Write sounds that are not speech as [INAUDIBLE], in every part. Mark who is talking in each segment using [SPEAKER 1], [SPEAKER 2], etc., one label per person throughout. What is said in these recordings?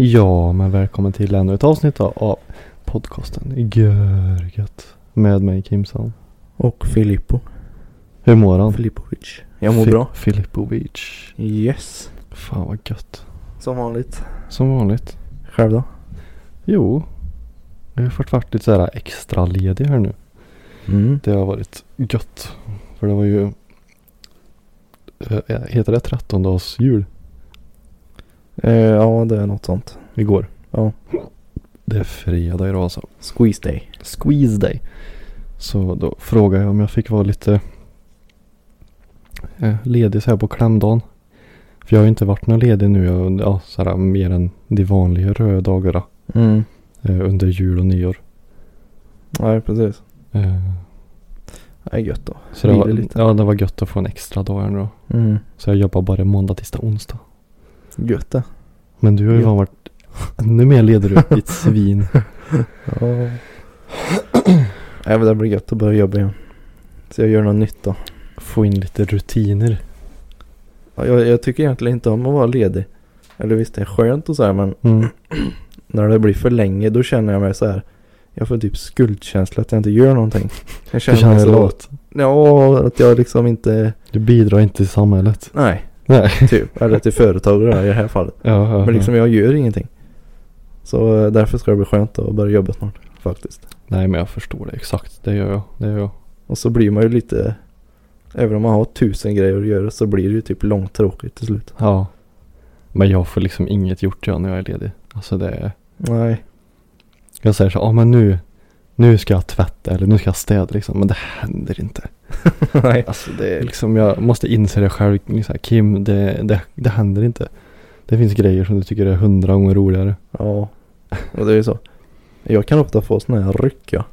[SPEAKER 1] Ja, men välkommen till ännu ett avsnitt då av podcasten Görgött med mig Kimson.
[SPEAKER 2] Och Filippo.
[SPEAKER 1] Hur mår han?
[SPEAKER 2] Filippovic. Jag mår
[SPEAKER 1] Fi-
[SPEAKER 2] bra.
[SPEAKER 1] Filippovic.
[SPEAKER 2] Yes.
[SPEAKER 1] Fan vad gött.
[SPEAKER 2] Som vanligt.
[SPEAKER 1] Som vanligt.
[SPEAKER 2] Själv då?
[SPEAKER 1] Jo, jag har fått varit lite så här extra ledig här nu.
[SPEAKER 2] Mm.
[SPEAKER 1] Det har varit gött. För det var ju, eh, heter det 13 dags jul
[SPEAKER 2] Eh, ja, det är något sånt.
[SPEAKER 1] igår?
[SPEAKER 2] Ja.
[SPEAKER 1] Det är fredag idag alltså.
[SPEAKER 2] Squeeze day.
[SPEAKER 1] Squeeze Day. Så då frågade jag om jag fick vara lite eh, ledig så här på klämdagen. För jag har ju inte varit någon ledig nu jag, ja, så här, mer än de vanliga röda dagarna
[SPEAKER 2] Mm.
[SPEAKER 1] eh, under jul och nyår.
[SPEAKER 2] Ja, precis.
[SPEAKER 1] Eh,
[SPEAKER 2] Det är gött då.
[SPEAKER 1] så det
[SPEAKER 2] Vila
[SPEAKER 1] var,
[SPEAKER 2] lite.
[SPEAKER 1] ja, det var gött att få en extra dag här nu då.
[SPEAKER 2] Mm.
[SPEAKER 1] Så jag jobbar bara måndag, tisdag, onsdag.
[SPEAKER 2] Gött det.
[SPEAKER 1] Men du har ju
[SPEAKER 2] Ja.
[SPEAKER 1] fan varit ännu mer ledig du, ditt svin.
[SPEAKER 2] Ja. [CLEARS THROAT] Nej, men det blir gött att börja jobba igen. Så jag gör något nytt då.
[SPEAKER 1] Få in lite rutiner.
[SPEAKER 2] Ja, Jag, jag tycker egentligen inte om att vara ledig. Eller visst, det är skönt och så här, men
[SPEAKER 1] Mm.
[SPEAKER 2] när det blir för länge då känner jag mig så här. Jag får typ skuldkänsla att jag inte gör [LAUGHS] någonting. Jag
[SPEAKER 1] Du
[SPEAKER 2] mig
[SPEAKER 1] känner
[SPEAKER 2] så-
[SPEAKER 1] lat.
[SPEAKER 2] Ja, att jag liksom inte...
[SPEAKER 1] Du bidrar inte till samhället.
[SPEAKER 2] Nej.
[SPEAKER 1] Nej.
[SPEAKER 2] Typ, eller till företag då, i det här fallet.
[SPEAKER 1] Ja, ja,
[SPEAKER 2] Men
[SPEAKER 1] ja.
[SPEAKER 2] liksom jag gör ingenting. Så eh, därför ska det bli skönt att börja jobba snart faktiskt.
[SPEAKER 1] Nej men jag förstår det exakt. Det gör jag. Det gör jag.
[SPEAKER 2] Och så blir man ju lite, även om man har tusen grejer att göra så blir det ju typ långtråkigt till slut.
[SPEAKER 1] Ja. Men jag får liksom inget gjort jag när jag är ledig. Alltså det är.
[SPEAKER 2] Nej, [LAUGHS]
[SPEAKER 1] Jag säger så, ja ah, men nu. Nu ska jag tvätta eller nu ska jag städa liksom. Men det händer inte.
[SPEAKER 2] nej.
[SPEAKER 1] Alltså det är liksom, jag måste inse det själv. Liksom, Kim, det, det, det händer inte. Det finns grejer som du tycker är hundra gånger roligare.
[SPEAKER 2] Ja, och det är ju så. Jag kan ofta få sådana här ryck ja.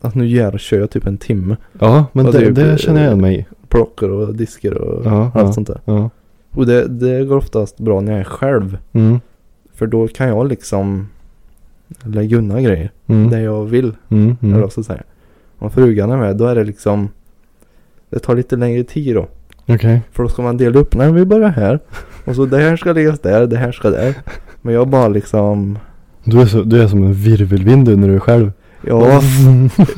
[SPEAKER 2] Att nu gör, kör jag typ en timme.
[SPEAKER 1] Ja, men
[SPEAKER 2] Ja,
[SPEAKER 1] det,
[SPEAKER 2] det är ju-
[SPEAKER 1] det känner jag igen mig i.
[SPEAKER 2] Plockar och diskar och
[SPEAKER 1] Ja,
[SPEAKER 2] allt
[SPEAKER 1] ja.
[SPEAKER 2] sånt där.
[SPEAKER 1] Ja.
[SPEAKER 2] Och det, det går oftast bra när jag är själv.
[SPEAKER 1] Mm.
[SPEAKER 2] För då kan jag liksom lägga undan grejer.
[SPEAKER 1] Mm.
[SPEAKER 2] Det jag vill.
[SPEAKER 1] Mm. Mm.
[SPEAKER 2] Eller så säga. Om frugan är med då är det liksom Det tar lite längre tid då.
[SPEAKER 1] Okej.
[SPEAKER 2] För då ska man dela upp. Nej vi börjar här. Och så det här ska läggas där. Det här ska där. Men jag bara liksom
[SPEAKER 1] Du, är så, du är som en virvelvind du när du är själv. [LAUGHS]
[SPEAKER 2] Jag,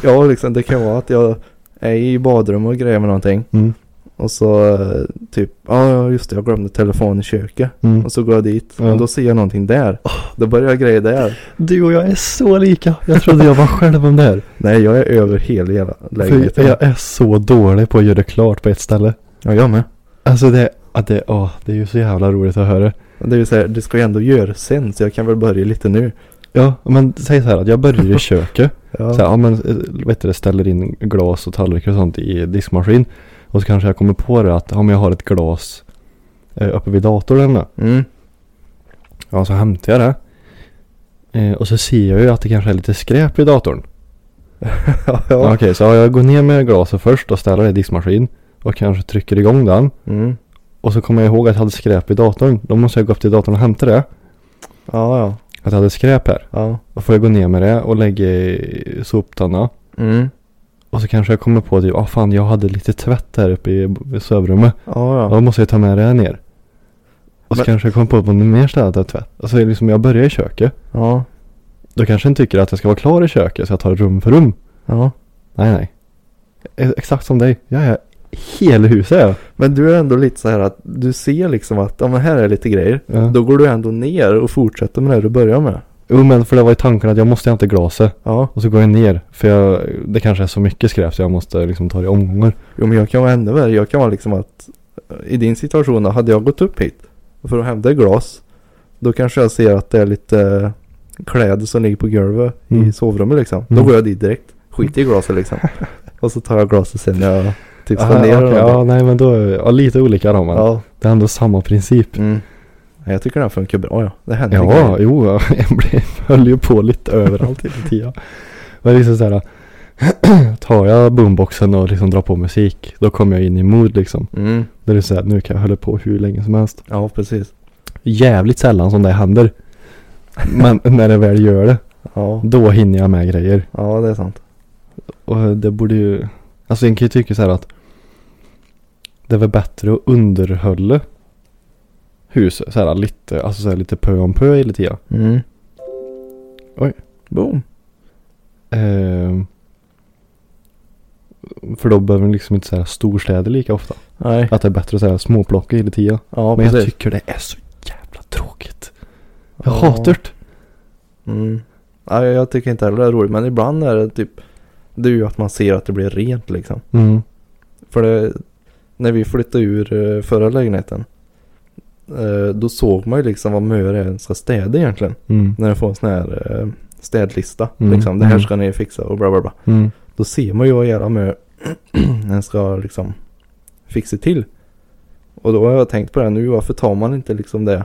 [SPEAKER 2] jag liksom det kan vara att jag är i badrummet och grejer med någonting.
[SPEAKER 1] Mm.
[SPEAKER 2] Och så eh, typ. Ja ja, just det jag glömde telefonen i köket.
[SPEAKER 1] Mm.
[SPEAKER 2] Och så går jag dit.
[SPEAKER 1] Ja.
[SPEAKER 2] Och då ser jag någonting där. Då börjar jag greja där.
[SPEAKER 1] Du och jag är så lika. Jag trodde jag var själv om det [LAUGHS] här.
[SPEAKER 2] Nej jag är över hela jävla
[SPEAKER 1] För
[SPEAKER 2] lägenheten.
[SPEAKER 1] jag är så dålig på att göra det klart på ett ställe.
[SPEAKER 2] Ja jag med.
[SPEAKER 1] Alltså det, att det, åh, det är ju så jävla roligt att höra.
[SPEAKER 2] Det vill säga det ska jag ändå göra sen. Så jag kan väl börja lite nu.
[SPEAKER 1] Ja, men säg så här att jag [LAUGHS] börjar i köket.
[SPEAKER 2] Ja.
[SPEAKER 1] Så här, ja men eh, vet du, det, ställer in glas och tallrikar och sånt i diskmaskin. Och så kanske jag kommer på det att, ja men jag har ett glas eh, uppe vid datorn eller nåt.
[SPEAKER 2] Mm.
[SPEAKER 1] Ja, så hämtar jag det. Eh, och så ser jag ju att det kanske är lite skräp i datorn.
[SPEAKER 2] [LAUGHS] ja.
[SPEAKER 1] Ja. Okej, så jag går ner med glaset först och ställer det i diskmaskin. Och kanske trycker igång den.
[SPEAKER 2] Mm.
[SPEAKER 1] Och så kommer jag ihåg att jag hade skräp i datorn. Då måste jag gå upp till datorn och hämta det.
[SPEAKER 2] Ja, ja.
[SPEAKER 1] Att jag hade skräp här.
[SPEAKER 2] Ja.
[SPEAKER 1] Då får jag gå ner med det och lägga i soptunna.
[SPEAKER 2] Mm.
[SPEAKER 1] Och så kanske jag kommer på typ, ah fan jag hade lite tvätt här uppe i i sovrummet.
[SPEAKER 2] Ja, ja.
[SPEAKER 1] Då måste jag ta med det här ner. Och så
[SPEAKER 2] Men-
[SPEAKER 1] kanske jag kommer på på något mer ställe att jag har tvätt. Alltså liksom jag börjar i köket.
[SPEAKER 2] Ja.
[SPEAKER 1] Då kanske jag tycker att jag ska vara klar i köket så jag tar rum för rum.
[SPEAKER 2] Ja.
[SPEAKER 1] Nej nej. E- Exakt som dig. Jag är hela huset är jag.
[SPEAKER 2] Men du är ändå lite så här att du ser liksom att ja, men här är lite grejer.
[SPEAKER 1] Ja.
[SPEAKER 2] Då går du ändå ner och fortsätter med det du börjar med.
[SPEAKER 1] Jo men för det var ju tanken att jag måste hämta glaset.
[SPEAKER 2] Ja.
[SPEAKER 1] Och så går jag ner. För jag, det kanske är så mycket skräp så jag måste liksom ta det i omgångar.
[SPEAKER 2] Jo, men jag kan vara ännu värre. Jag kan vara liksom att eh, i din situation då, hade jag gått upp hit för att hämta glas. Då kanske jag ser att det är lite eh, kläder som ligger på golvet
[SPEAKER 1] Mm.
[SPEAKER 2] i sovrummet liksom. Då
[SPEAKER 1] Mm.
[SPEAKER 2] går jag dit direkt. Skiter i
[SPEAKER 1] [LAUGHS]
[SPEAKER 2] glaset liksom. och så tar jag glaset sen när jag typ
[SPEAKER 1] Ja,
[SPEAKER 2] står ner.
[SPEAKER 1] okej,
[SPEAKER 2] eller
[SPEAKER 1] ja
[SPEAKER 2] någonting.
[SPEAKER 1] nej men då, ja lite olika då men.
[SPEAKER 2] ja.
[SPEAKER 1] Det är ändå samma princip.
[SPEAKER 2] Mm. Jag tycker den funkar bra ja. Det händer
[SPEAKER 1] Ja,
[SPEAKER 2] grejer.
[SPEAKER 1] jo, ja. [LAUGHS] jag blev- höll ju på lite överallt hela tiden. Men liksom såhär, [CLEARS THROAT] tar jag boomboxen och liksom drar på musik, då kommer jag in i mood liksom.
[SPEAKER 2] Mm.
[SPEAKER 1] Då är det såhär, nu kan jag hålla på hur länge som helst.
[SPEAKER 2] Ja, precis.
[SPEAKER 1] Jävligt sällan som det händer. Men när det väl gör det,
[SPEAKER 2] Ja.
[SPEAKER 1] då hinner jag med grejer.
[SPEAKER 2] ja, det är sant.
[SPEAKER 1] Och det borde ju, alltså jag kan ju tycka så här att det är väl bättre att underhålla huset så här lite, alltså så här lite pö om pö hela tiden.
[SPEAKER 2] Mm.
[SPEAKER 1] Oj.
[SPEAKER 2] Boom.
[SPEAKER 1] Ehm, för då behöver man liksom inte så här storstäder lika ofta.
[SPEAKER 2] Nej.
[SPEAKER 1] Att det är bättre att så här småplocka hela tiden.
[SPEAKER 2] Ja,
[SPEAKER 1] Men jag
[SPEAKER 2] precis.
[SPEAKER 1] tycker det är så jävla tråkigt. Jag hatar det.
[SPEAKER 2] Mm. Ja, jag tycker inte heller det är roligt. Men ibland är det typ. Det är ju att man ser att det blir rent liksom.
[SPEAKER 1] Mm.
[SPEAKER 2] För det, när vi flyttade ur eh, förra lägenheten. eh, Då såg man ju liksom vad Möre är som ska städa egentligen.
[SPEAKER 1] Mm.
[SPEAKER 2] När du får en sån här eh, städlista.
[SPEAKER 1] Mm,
[SPEAKER 2] Liksom. Det här
[SPEAKER 1] mm.
[SPEAKER 2] ska ni fixa och bla bla bla.
[SPEAKER 1] Mm.
[SPEAKER 2] Då ser man ju vad jävla [CLEARS THROAT] Möre den ska liksom fixa till. Och då har jag tänkt på det här nu. Varför tar man inte liksom det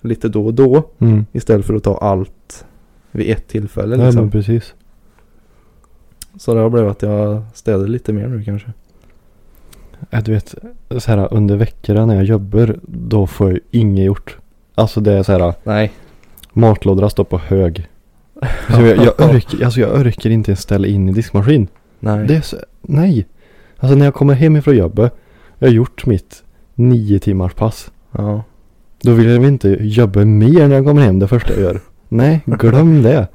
[SPEAKER 2] lite då och då.
[SPEAKER 1] Mm.
[SPEAKER 2] Istället för att ta allt vid ett tillfälle
[SPEAKER 1] Ja, men
[SPEAKER 2] liksom.
[SPEAKER 1] precis.
[SPEAKER 2] Så det har blivit att jag städar lite mer nu kanske.
[SPEAKER 1] Ja, Du vet, så här under veckorna när jag jobbar, då får jag ju inget gjort. Alltså det är så här,
[SPEAKER 2] Nej.
[SPEAKER 1] matlådorna står på hög. Alltså jag, jag, örker, alltså jag örker inte ens ställa in i diskmaskin.
[SPEAKER 2] Nej.
[SPEAKER 1] Det är så, nej. Alltså när jag kommer hem ifrån jobbet, jag har gjort mitt nio timmars pass.
[SPEAKER 2] Ja.
[SPEAKER 1] Då vill jag väl inte jobba mer när jag kommer hem det första jag gör. Nej, glöm det.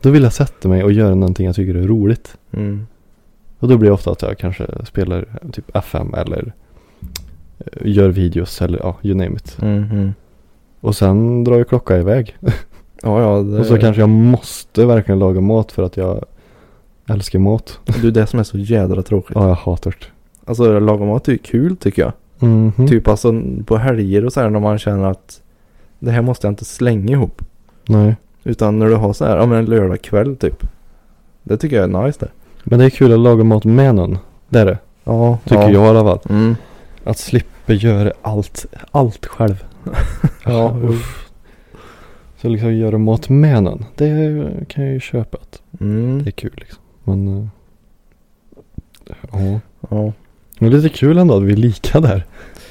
[SPEAKER 1] Då vill jag sätta mig och göra någonting jag tycker är roligt.
[SPEAKER 2] Mm.
[SPEAKER 1] Och då blir det ofta att jag kanske spelar typ FM eller eh, gör videos eller ja, you name it.
[SPEAKER 2] Mm, mm.
[SPEAKER 1] Och sen drar ju klockan iväg.
[SPEAKER 2] Ja, ja. Det,
[SPEAKER 1] Och så kanske jag måste verkligen laga mat för att jag älskar mat.
[SPEAKER 2] Du, det som är så jädra tråkigt.
[SPEAKER 1] Ja, jag hatar det.
[SPEAKER 2] Alltså lagom mat är ju kul tycker jag.
[SPEAKER 1] Mhm.
[SPEAKER 2] Typ alltså på helger och så här när man känner att det här måste jag inte slänga ihop.
[SPEAKER 1] Nej.
[SPEAKER 2] Utan när du har så här, ja men en lördagkväll typ. Det tycker jag är nice det.
[SPEAKER 1] Men det är kul att laga mat med någon. Det är det.
[SPEAKER 2] Ja,
[SPEAKER 1] Tycker
[SPEAKER 2] ja.
[SPEAKER 1] jag i alla fall.
[SPEAKER 2] Mm.
[SPEAKER 1] Att slippa göra allt, allt [LAUGHS] själv. [LAUGHS]
[SPEAKER 2] Ja,
[SPEAKER 1] uff. Så liksom göra mat med någon. Det kan jag ju köpa. Att
[SPEAKER 2] Mm.
[SPEAKER 1] det är kul liksom. Men. eh, Ja.
[SPEAKER 2] Ja.
[SPEAKER 1] Men lite kul ändå att vi är lika där.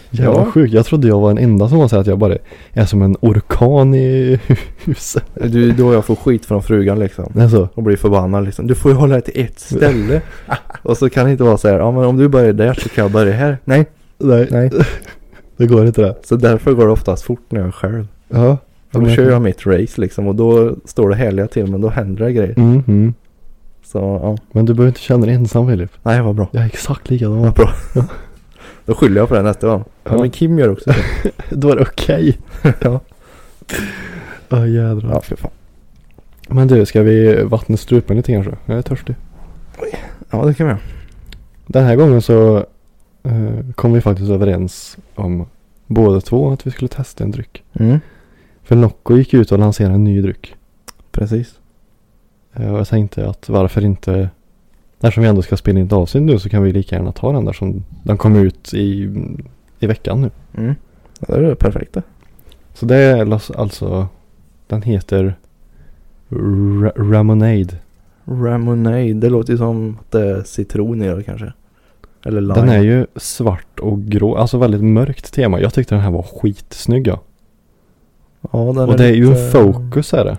[SPEAKER 1] Jävla
[SPEAKER 2] Ja.
[SPEAKER 1] sjukt. Jag trodde jag var den enda som var så här att jag bara är som en orkan i [LAUGHS] huset.
[SPEAKER 2] Du, då jag får skit från frugan liksom.
[SPEAKER 1] Alltså.
[SPEAKER 2] Och blir förbannad liksom. Du får ju hålla dig till ett ställe. [LAUGHS] och så kan det inte vara så här. Ja men om du börjar där så kan jag börja här. Nej.
[SPEAKER 1] Nej.
[SPEAKER 2] Nej.
[SPEAKER 1] [LAUGHS] Det går inte det.
[SPEAKER 2] Så därför går det oftast fort när jag är själv.
[SPEAKER 1] Ja.
[SPEAKER 2] För då kör jag mitt race liksom. Och då står det härliga till men då händer det grejer.
[SPEAKER 1] Mm, mm.
[SPEAKER 2] Så ja.
[SPEAKER 1] Men du behöver inte känna dig ensam Filip.
[SPEAKER 2] Nej vad bra.
[SPEAKER 1] Jag är exakt likadan. [LAUGHS]
[SPEAKER 2] Vad bra. då skyller jag på det nästa gång. Ja
[SPEAKER 1] Ja.
[SPEAKER 2] men Kim gör också det.
[SPEAKER 1] Då är det okej.
[SPEAKER 2] [LAUGHS] ja.
[SPEAKER 1] Ja jädrar.
[SPEAKER 2] Ja för fan.
[SPEAKER 1] Men du, ska vi vattna strupen lite kanske? Jag är törstig.
[SPEAKER 2] Ja det kan vi göra.
[SPEAKER 1] Den här gången så eh, kom vi faktiskt överens om båda två att vi skulle testa en dryck.
[SPEAKER 2] Mm.
[SPEAKER 1] För Nocco gick ut och lanserade en ny dryck.
[SPEAKER 2] Precis.
[SPEAKER 1] Eh, och jag tänkte att varför inte Eftersom vi ändå ska spela in ett avsnitt nu så kan vi lika gärna ta den där som den kom ut i, i veckan nu.
[SPEAKER 2] Mm. Ja, det är det perfekta.
[SPEAKER 1] Så det är las- alltså Den heter Ra- Ramonade.
[SPEAKER 2] Ramonade. Det låter ju som att det är citron i det kanske. Eller lime.
[SPEAKER 1] Den är ju svart och grå, alltså väldigt mörkt tema. Jag tyckte den här var skitsnygg ja.
[SPEAKER 2] Ja, den
[SPEAKER 1] Och det är ju en
[SPEAKER 2] lite-
[SPEAKER 1] focus är det.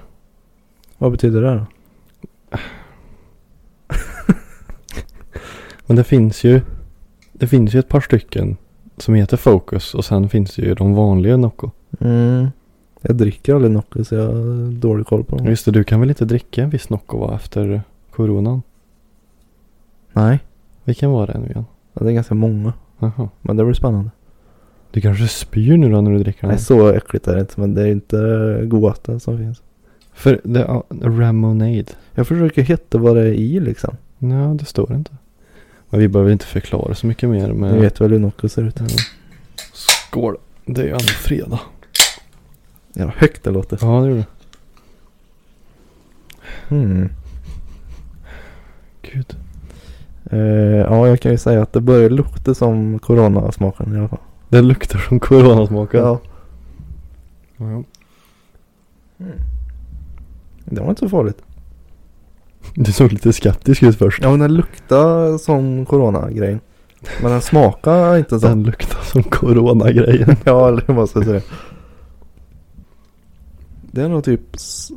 [SPEAKER 2] Vad betyder det då?
[SPEAKER 1] Men det finns ju Det finns ju ett par stycken som heter focus och sen finns det ju de vanliga Nocco.
[SPEAKER 2] Mm. Jag dricker aldrig Nocco så jag har dålig koll på dem.
[SPEAKER 1] Just det, du kan väl inte dricka en viss Nocco va efter coronan?
[SPEAKER 2] Nej,
[SPEAKER 1] Vilken var det nu igen?
[SPEAKER 2] det är ganska många.
[SPEAKER 1] Jaha.
[SPEAKER 2] Men det blir spännande.
[SPEAKER 1] Du kanske spyr nu då när du dricker den?
[SPEAKER 2] Nej, så äckligt är det inte. Men det är inte godvatten som finns.
[SPEAKER 1] För det, ja, Ramonade.
[SPEAKER 2] Jag försöker hitta vad det är i liksom.
[SPEAKER 1] Nej, det står inte. Men vi behöver inte förklara så mycket mer med...
[SPEAKER 2] Ni vet väl hur Nocco ser ut.
[SPEAKER 1] Ja. Skål. Det är ju ändå fredag.
[SPEAKER 2] Ja, högt det låter.
[SPEAKER 1] Ja, det är det.
[SPEAKER 2] Mm.
[SPEAKER 1] Gud.
[SPEAKER 2] Eh, ja, jag kan ju säga att det börjar lukta som coronasmaken i alla fall.
[SPEAKER 1] Det luktar som coronasmaken. Ja.
[SPEAKER 2] Det var inte så farligt.
[SPEAKER 1] Du såg lite skeptisk ut först.
[SPEAKER 2] Ja men den luktade som corona-grejen. Men den smakade inte så.
[SPEAKER 1] Den luktar som coronagrejen.
[SPEAKER 2] [LAUGHS] Ja eller vad ska jag säga. Det är nog typ s-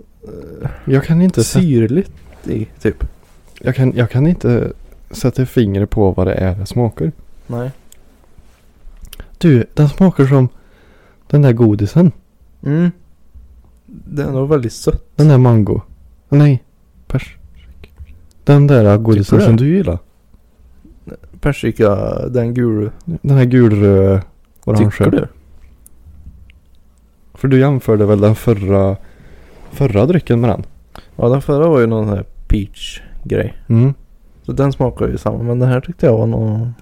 [SPEAKER 2] eh,
[SPEAKER 1] Jag kan inte, sätta,
[SPEAKER 2] syrligt i typ.
[SPEAKER 1] jag kan, jag kan inte sätta fingret på vad det är det smakar.
[SPEAKER 2] Nej.
[SPEAKER 1] Du, den smakar som den där godisen.
[SPEAKER 2] Mm. Det är nog väldigt sött.
[SPEAKER 1] Den där mango. Nej, persik. Den där godisen
[SPEAKER 2] det?
[SPEAKER 1] som du gillar.
[SPEAKER 2] Persika, den gul.
[SPEAKER 1] Den här gulröd
[SPEAKER 2] Tycker du?
[SPEAKER 1] För du jämförde väl den förra, förra drycken med den?
[SPEAKER 2] Ja den förra var ju någon sån här peach grej.
[SPEAKER 1] Mm.
[SPEAKER 2] Så den smakar ju samma. Men den här tyckte jag var någon.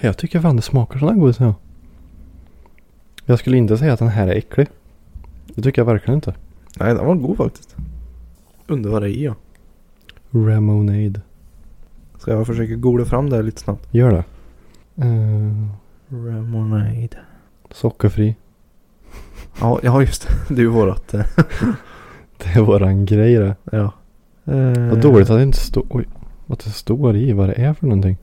[SPEAKER 1] Jag tycker fan det smakar sån här godis ja. Jag skulle inte säga att den här är äcklig. Det tycker jag verkligen inte.
[SPEAKER 2] Nej den var god faktiskt. Undrar vad det är i ja.
[SPEAKER 1] Ramonade.
[SPEAKER 2] Ska jag försöka googla fram det här lite snabbt?
[SPEAKER 1] Gör det. Eh,
[SPEAKER 2] Ramonade.
[SPEAKER 1] sockerfri. [LAUGHS]
[SPEAKER 2] Ja, ja just det. [LAUGHS] Det är ju vårat. eh,
[SPEAKER 1] Det är våran grej det.
[SPEAKER 2] Ja. Eh,
[SPEAKER 1] Vad dåligt att det inte står... Oj. Att det står i vad det är för någonting.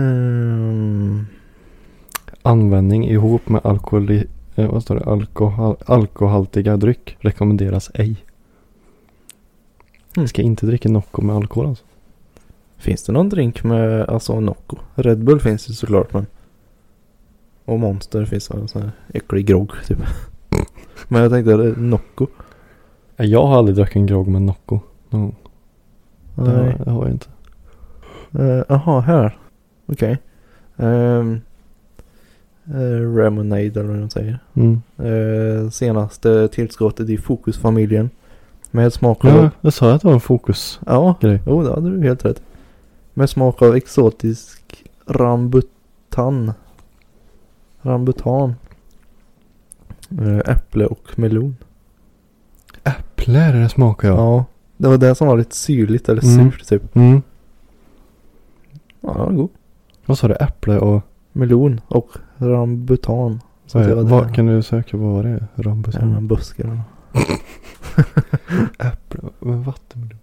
[SPEAKER 2] Ehm,
[SPEAKER 1] Användning ihop med alkoholi... eh, Vad står det? Alkohol, alkoholhaltiga dryck rekommenderas ej.
[SPEAKER 2] Mm.
[SPEAKER 1] Ska inte dricka Nocco med alkohol alltså.
[SPEAKER 2] finns det någon drink med alltså Nocco? Red Bull finns ju såklart men. Och Monster finns väl en sån här äcklig grogg
[SPEAKER 1] [LAUGHS]
[SPEAKER 2] typ. men jag tänkte är det Nocco.
[SPEAKER 1] Eh, Jag har aldrig druckit en grogg med Nocco. No, det, har,
[SPEAKER 2] Nej.
[SPEAKER 1] det har jag inte.
[SPEAKER 2] Eh, Jaha, här. Okej. Ehm, eh, Ramonade eller vad de säger.
[SPEAKER 1] Mm.
[SPEAKER 2] Eh, senaste tillskottet i Fokusfamiljen. Med smak av
[SPEAKER 1] Ja, jag sa att det var en fokus.
[SPEAKER 2] Ja,
[SPEAKER 1] Grej.
[SPEAKER 2] jo det hade du helt rätt. Med smak av exotisk rambutan. Rambutan. Eh, Äpple och melon.
[SPEAKER 1] Äpple är det det smakar ja.
[SPEAKER 2] Det var det som var lite syrligt eller
[SPEAKER 1] Mm.
[SPEAKER 2] surt typ.
[SPEAKER 1] Mm.
[SPEAKER 2] Ja, den var god.
[SPEAKER 1] Vad sa du? Äpple och...
[SPEAKER 2] Melon och rambutan. Så
[SPEAKER 1] Vad, är,
[SPEAKER 2] det var det.
[SPEAKER 1] vad, kan du söka på vad det är?
[SPEAKER 2] Ja,
[SPEAKER 1] Rambutan?
[SPEAKER 2] men buskar eller nåt.
[SPEAKER 1] Äpple? Men vattenmelon?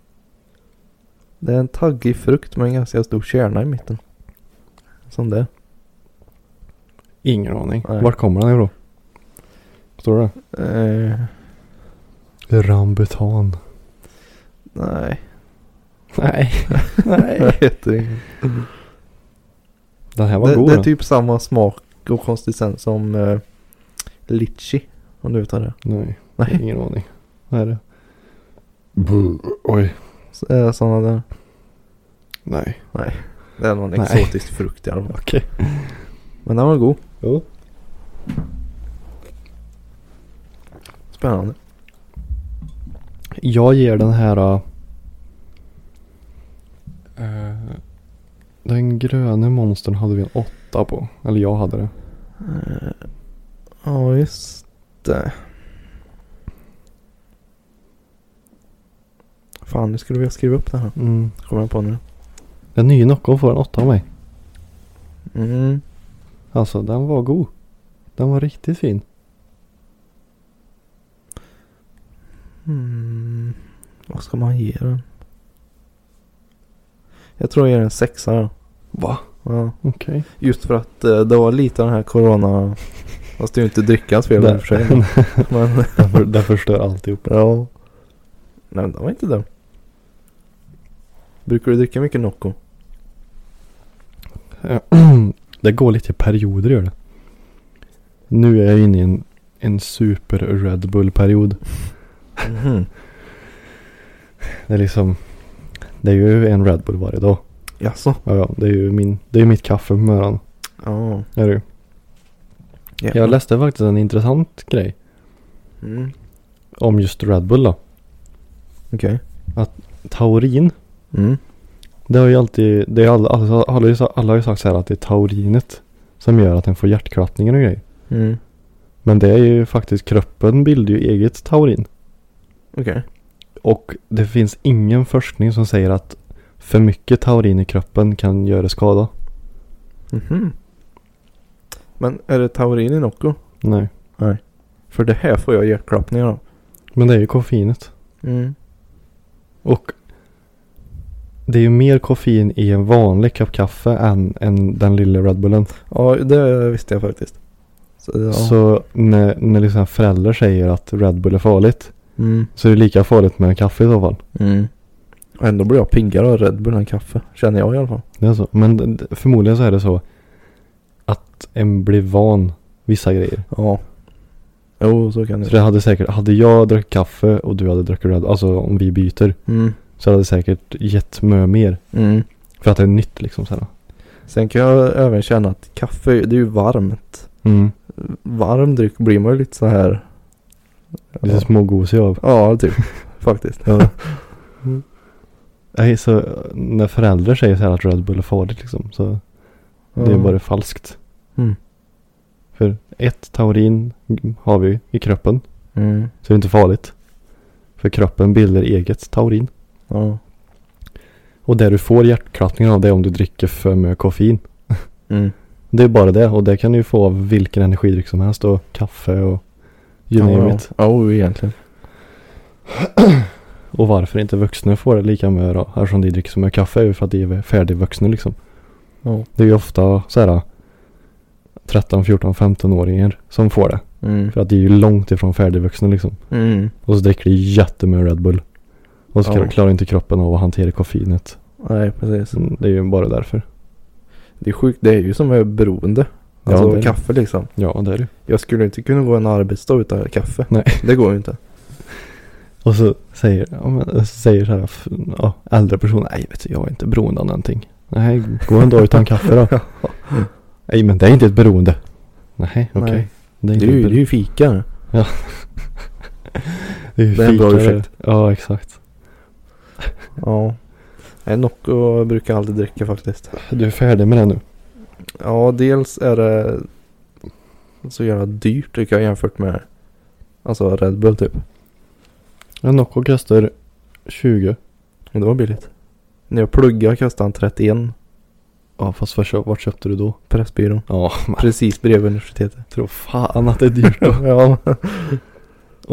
[SPEAKER 2] Det är en taggig frukt med en ganska stor kärna i mitten. Som det.
[SPEAKER 1] Ingen aning.
[SPEAKER 2] Nej.
[SPEAKER 1] Vart kommer den ifrån? Står det?
[SPEAKER 2] Eh,
[SPEAKER 1] Rambutan.
[SPEAKER 2] nej.
[SPEAKER 1] Nej.
[SPEAKER 2] [LAUGHS]
[SPEAKER 1] [LAUGHS]
[SPEAKER 2] Jag
[SPEAKER 1] Nej.
[SPEAKER 2] vet inte.
[SPEAKER 1] Den här var
[SPEAKER 2] Det,
[SPEAKER 1] god
[SPEAKER 2] det är
[SPEAKER 1] den.
[SPEAKER 2] typ samma smak och konsistens som eh, litchi. Om du vet vad det är.
[SPEAKER 1] Nej.
[SPEAKER 2] Nej.
[SPEAKER 1] Ingen aning. Vad är det? Oj.
[SPEAKER 2] Så, eh, Sådana där.
[SPEAKER 1] Nej.
[SPEAKER 2] Det är någon
[SPEAKER 1] Nej.
[SPEAKER 2] exotisk frukt i alla fall.
[SPEAKER 1] Okej.
[SPEAKER 2] Men den var god.
[SPEAKER 1] Jo.
[SPEAKER 2] Spännande.
[SPEAKER 1] Jag ger den här... eh, den gröna monstern hade vi en åtta på. Eller jag hade det.
[SPEAKER 2] Eh, Ja, just det. Fan, nu skulle vi ha skrivit upp det här.
[SPEAKER 1] Mm.
[SPEAKER 2] Kommer jag på nu.
[SPEAKER 1] Den nya Nocco får en åtta av mig.
[SPEAKER 2] Mm.
[SPEAKER 1] Alltså den var god. Den var riktigt fin.
[SPEAKER 2] Mm. Vad ska man ge den? Jag tror jag ger den en sexa då.
[SPEAKER 1] Va?
[SPEAKER 2] Ja.
[SPEAKER 1] Okej.
[SPEAKER 2] Just för att eh, det var lite den här corona... Fast det är ju inte drickans fel i och för sig. Men
[SPEAKER 1] Den, för, den förstör alltihop.
[SPEAKER 2] ja. Nej men det var inte det. Brukar du dricka mycket Nocco?
[SPEAKER 1] [LAUGHS] Det går lite i perioder gör det. Nu är jag inne i en, en super Red Bull period.
[SPEAKER 2] Mhm.
[SPEAKER 1] Det är liksom. Det är ju en Red Bull varje dag.
[SPEAKER 2] Jaså?
[SPEAKER 1] Ja, ja, det är ju min, det är mitt kaffe på morgonen.
[SPEAKER 2] Ja.
[SPEAKER 1] Är det ju. Jag
[SPEAKER 2] läste.
[SPEAKER 1] läste faktiskt en intressant grej.
[SPEAKER 2] Mm.
[SPEAKER 1] Om just Red Bull då.
[SPEAKER 2] Okej.
[SPEAKER 1] Taurin.
[SPEAKER 2] Mm.
[SPEAKER 1] Det har ju alltid, det är alla, alla, alla, har ju sa- alla har ju sagt så här att det är taurinet som gör att den får hjärtklappningar och grejer.
[SPEAKER 2] Mm.
[SPEAKER 1] Men det är ju faktiskt, kroppen bildar ju eget taurin.
[SPEAKER 2] Okej.
[SPEAKER 1] Och det finns ingen forskning som säger att för mycket taurin i kroppen kan göra skada.
[SPEAKER 2] Mhm. Men är det taurin i Nocco?
[SPEAKER 1] Nej.
[SPEAKER 2] Nej. För det här får jag hjärtklappningar av. Mm.
[SPEAKER 1] Men det är ju koffeinet. Och det är ju mer koffein i en vanlig kopp kaffe än, än den lilla Red Bullen.
[SPEAKER 2] Ja, det visste jag faktiskt. Så, ja.
[SPEAKER 1] Så när, när liksom föräldrar säger att Red Bull är farligt
[SPEAKER 2] Mm.
[SPEAKER 1] så är det lika farligt med en kaffe i så fall.
[SPEAKER 2] Mm. Ändå blir jag piggare av Red Bull än kaffe. Känner jag i alla fall.
[SPEAKER 1] Det är så. Men d- d- förmodligen så är det så att en blir van vissa grejer.
[SPEAKER 2] Ja. Jo, så kan det
[SPEAKER 1] Så det hade säkert, hade jag druckit kaffe och du hade druckit Red alltså om vi byter,
[SPEAKER 2] Mm.
[SPEAKER 1] så hade det säkert gett mycket mer.
[SPEAKER 2] Mm.
[SPEAKER 1] För att det är nytt liksom så här.
[SPEAKER 2] Sen kan jag även känna att kaffe, det är ju varmt.
[SPEAKER 1] Mm.
[SPEAKER 2] Varm dryck blir man ju lite så här.
[SPEAKER 1] Lite
[SPEAKER 2] Ja.
[SPEAKER 1] smågosig av.
[SPEAKER 2] Ja, typ. [LAUGHS] Faktiskt.
[SPEAKER 1] Ja. Nej, så när föräldrar säger så här att Red Bull är farligt liksom, så det är
[SPEAKER 2] Ja.
[SPEAKER 1] bara falskt.
[SPEAKER 2] Mm.
[SPEAKER 1] För ett, taurin har vi i kroppen,
[SPEAKER 2] Mm.
[SPEAKER 1] så det är inte farligt. För kroppen bildar eget taurin.
[SPEAKER 2] Ja.
[SPEAKER 1] Och det du får hjärtklappningar av det är om du dricker för mycket koffein.
[SPEAKER 2] Mm.
[SPEAKER 1] Det är bara det och det kan du ju få av vilken energidryck som helst och kaffe och you name
[SPEAKER 2] ja.
[SPEAKER 1] it.
[SPEAKER 2] Ja, jo, egentligen.
[SPEAKER 1] Och varför inte vuxna får det lika mycket då? Eftersom de dricker så mycket kaffe är ju för att de är färdigvuxna liksom.
[SPEAKER 2] Ja.
[SPEAKER 1] Det är ju ofta så här 13, 14, 15-åringar som får det.
[SPEAKER 2] Mm.
[SPEAKER 1] För att det är ju långt ifrån färdigvuxna liksom.
[SPEAKER 2] Mm.
[SPEAKER 1] Och så dricker de jättemycket Red Bull. Och så
[SPEAKER 2] Ja.
[SPEAKER 1] klarar inte kroppen av att hantera koffeinet.
[SPEAKER 2] Nej, precis.
[SPEAKER 1] Så Det är ju bara därför.
[SPEAKER 2] Det är sjukt. Det är ju som är beroende.
[SPEAKER 1] Ja,
[SPEAKER 2] Alltså
[SPEAKER 1] det är det.
[SPEAKER 2] kaffe liksom.
[SPEAKER 1] Ja, det är det
[SPEAKER 2] Jag skulle inte kunna gå en arbetsdag utan kaffe.
[SPEAKER 1] Nej.
[SPEAKER 2] Det går ju [LAUGHS] inte.
[SPEAKER 1] Och så säger, ja, men, så säger så här, f- ja, äldre personer, nej vet du, jag är inte beroende av någonting. Nej, gå en dag utan kaffe [LAUGHS] då. Nej, men det är inte ett beroende. Nej, okej.
[SPEAKER 2] Nej.
[SPEAKER 1] Det är,
[SPEAKER 2] Det
[SPEAKER 1] inte
[SPEAKER 2] är
[SPEAKER 1] ett
[SPEAKER 2] ju, det är
[SPEAKER 1] beroende.
[SPEAKER 2] ju fika.
[SPEAKER 1] det är ju
[SPEAKER 2] det är en bra
[SPEAKER 1] fika, det.
[SPEAKER 2] ursäkt.
[SPEAKER 1] Ja, exakt.
[SPEAKER 2] Ja. Nej, Nocco brukar jag aldrig dricka faktiskt.
[SPEAKER 1] Du är färdig med det nu.
[SPEAKER 2] Ja, dels är det så jävla dyrt tycker jag jämfört med alltså Red Bull typ.
[SPEAKER 1] En Nocco kostar 20.
[SPEAKER 2] Men det var billigt. När jag pluggade kostade han 31
[SPEAKER 1] Ja fast var köp, vart köpte du då?
[SPEAKER 2] Pressbyrån.
[SPEAKER 1] Ja man
[SPEAKER 2] Precis bredvid universitetet.
[SPEAKER 1] tror fan att det är dyrt då. [LAUGHS]
[SPEAKER 2] ja,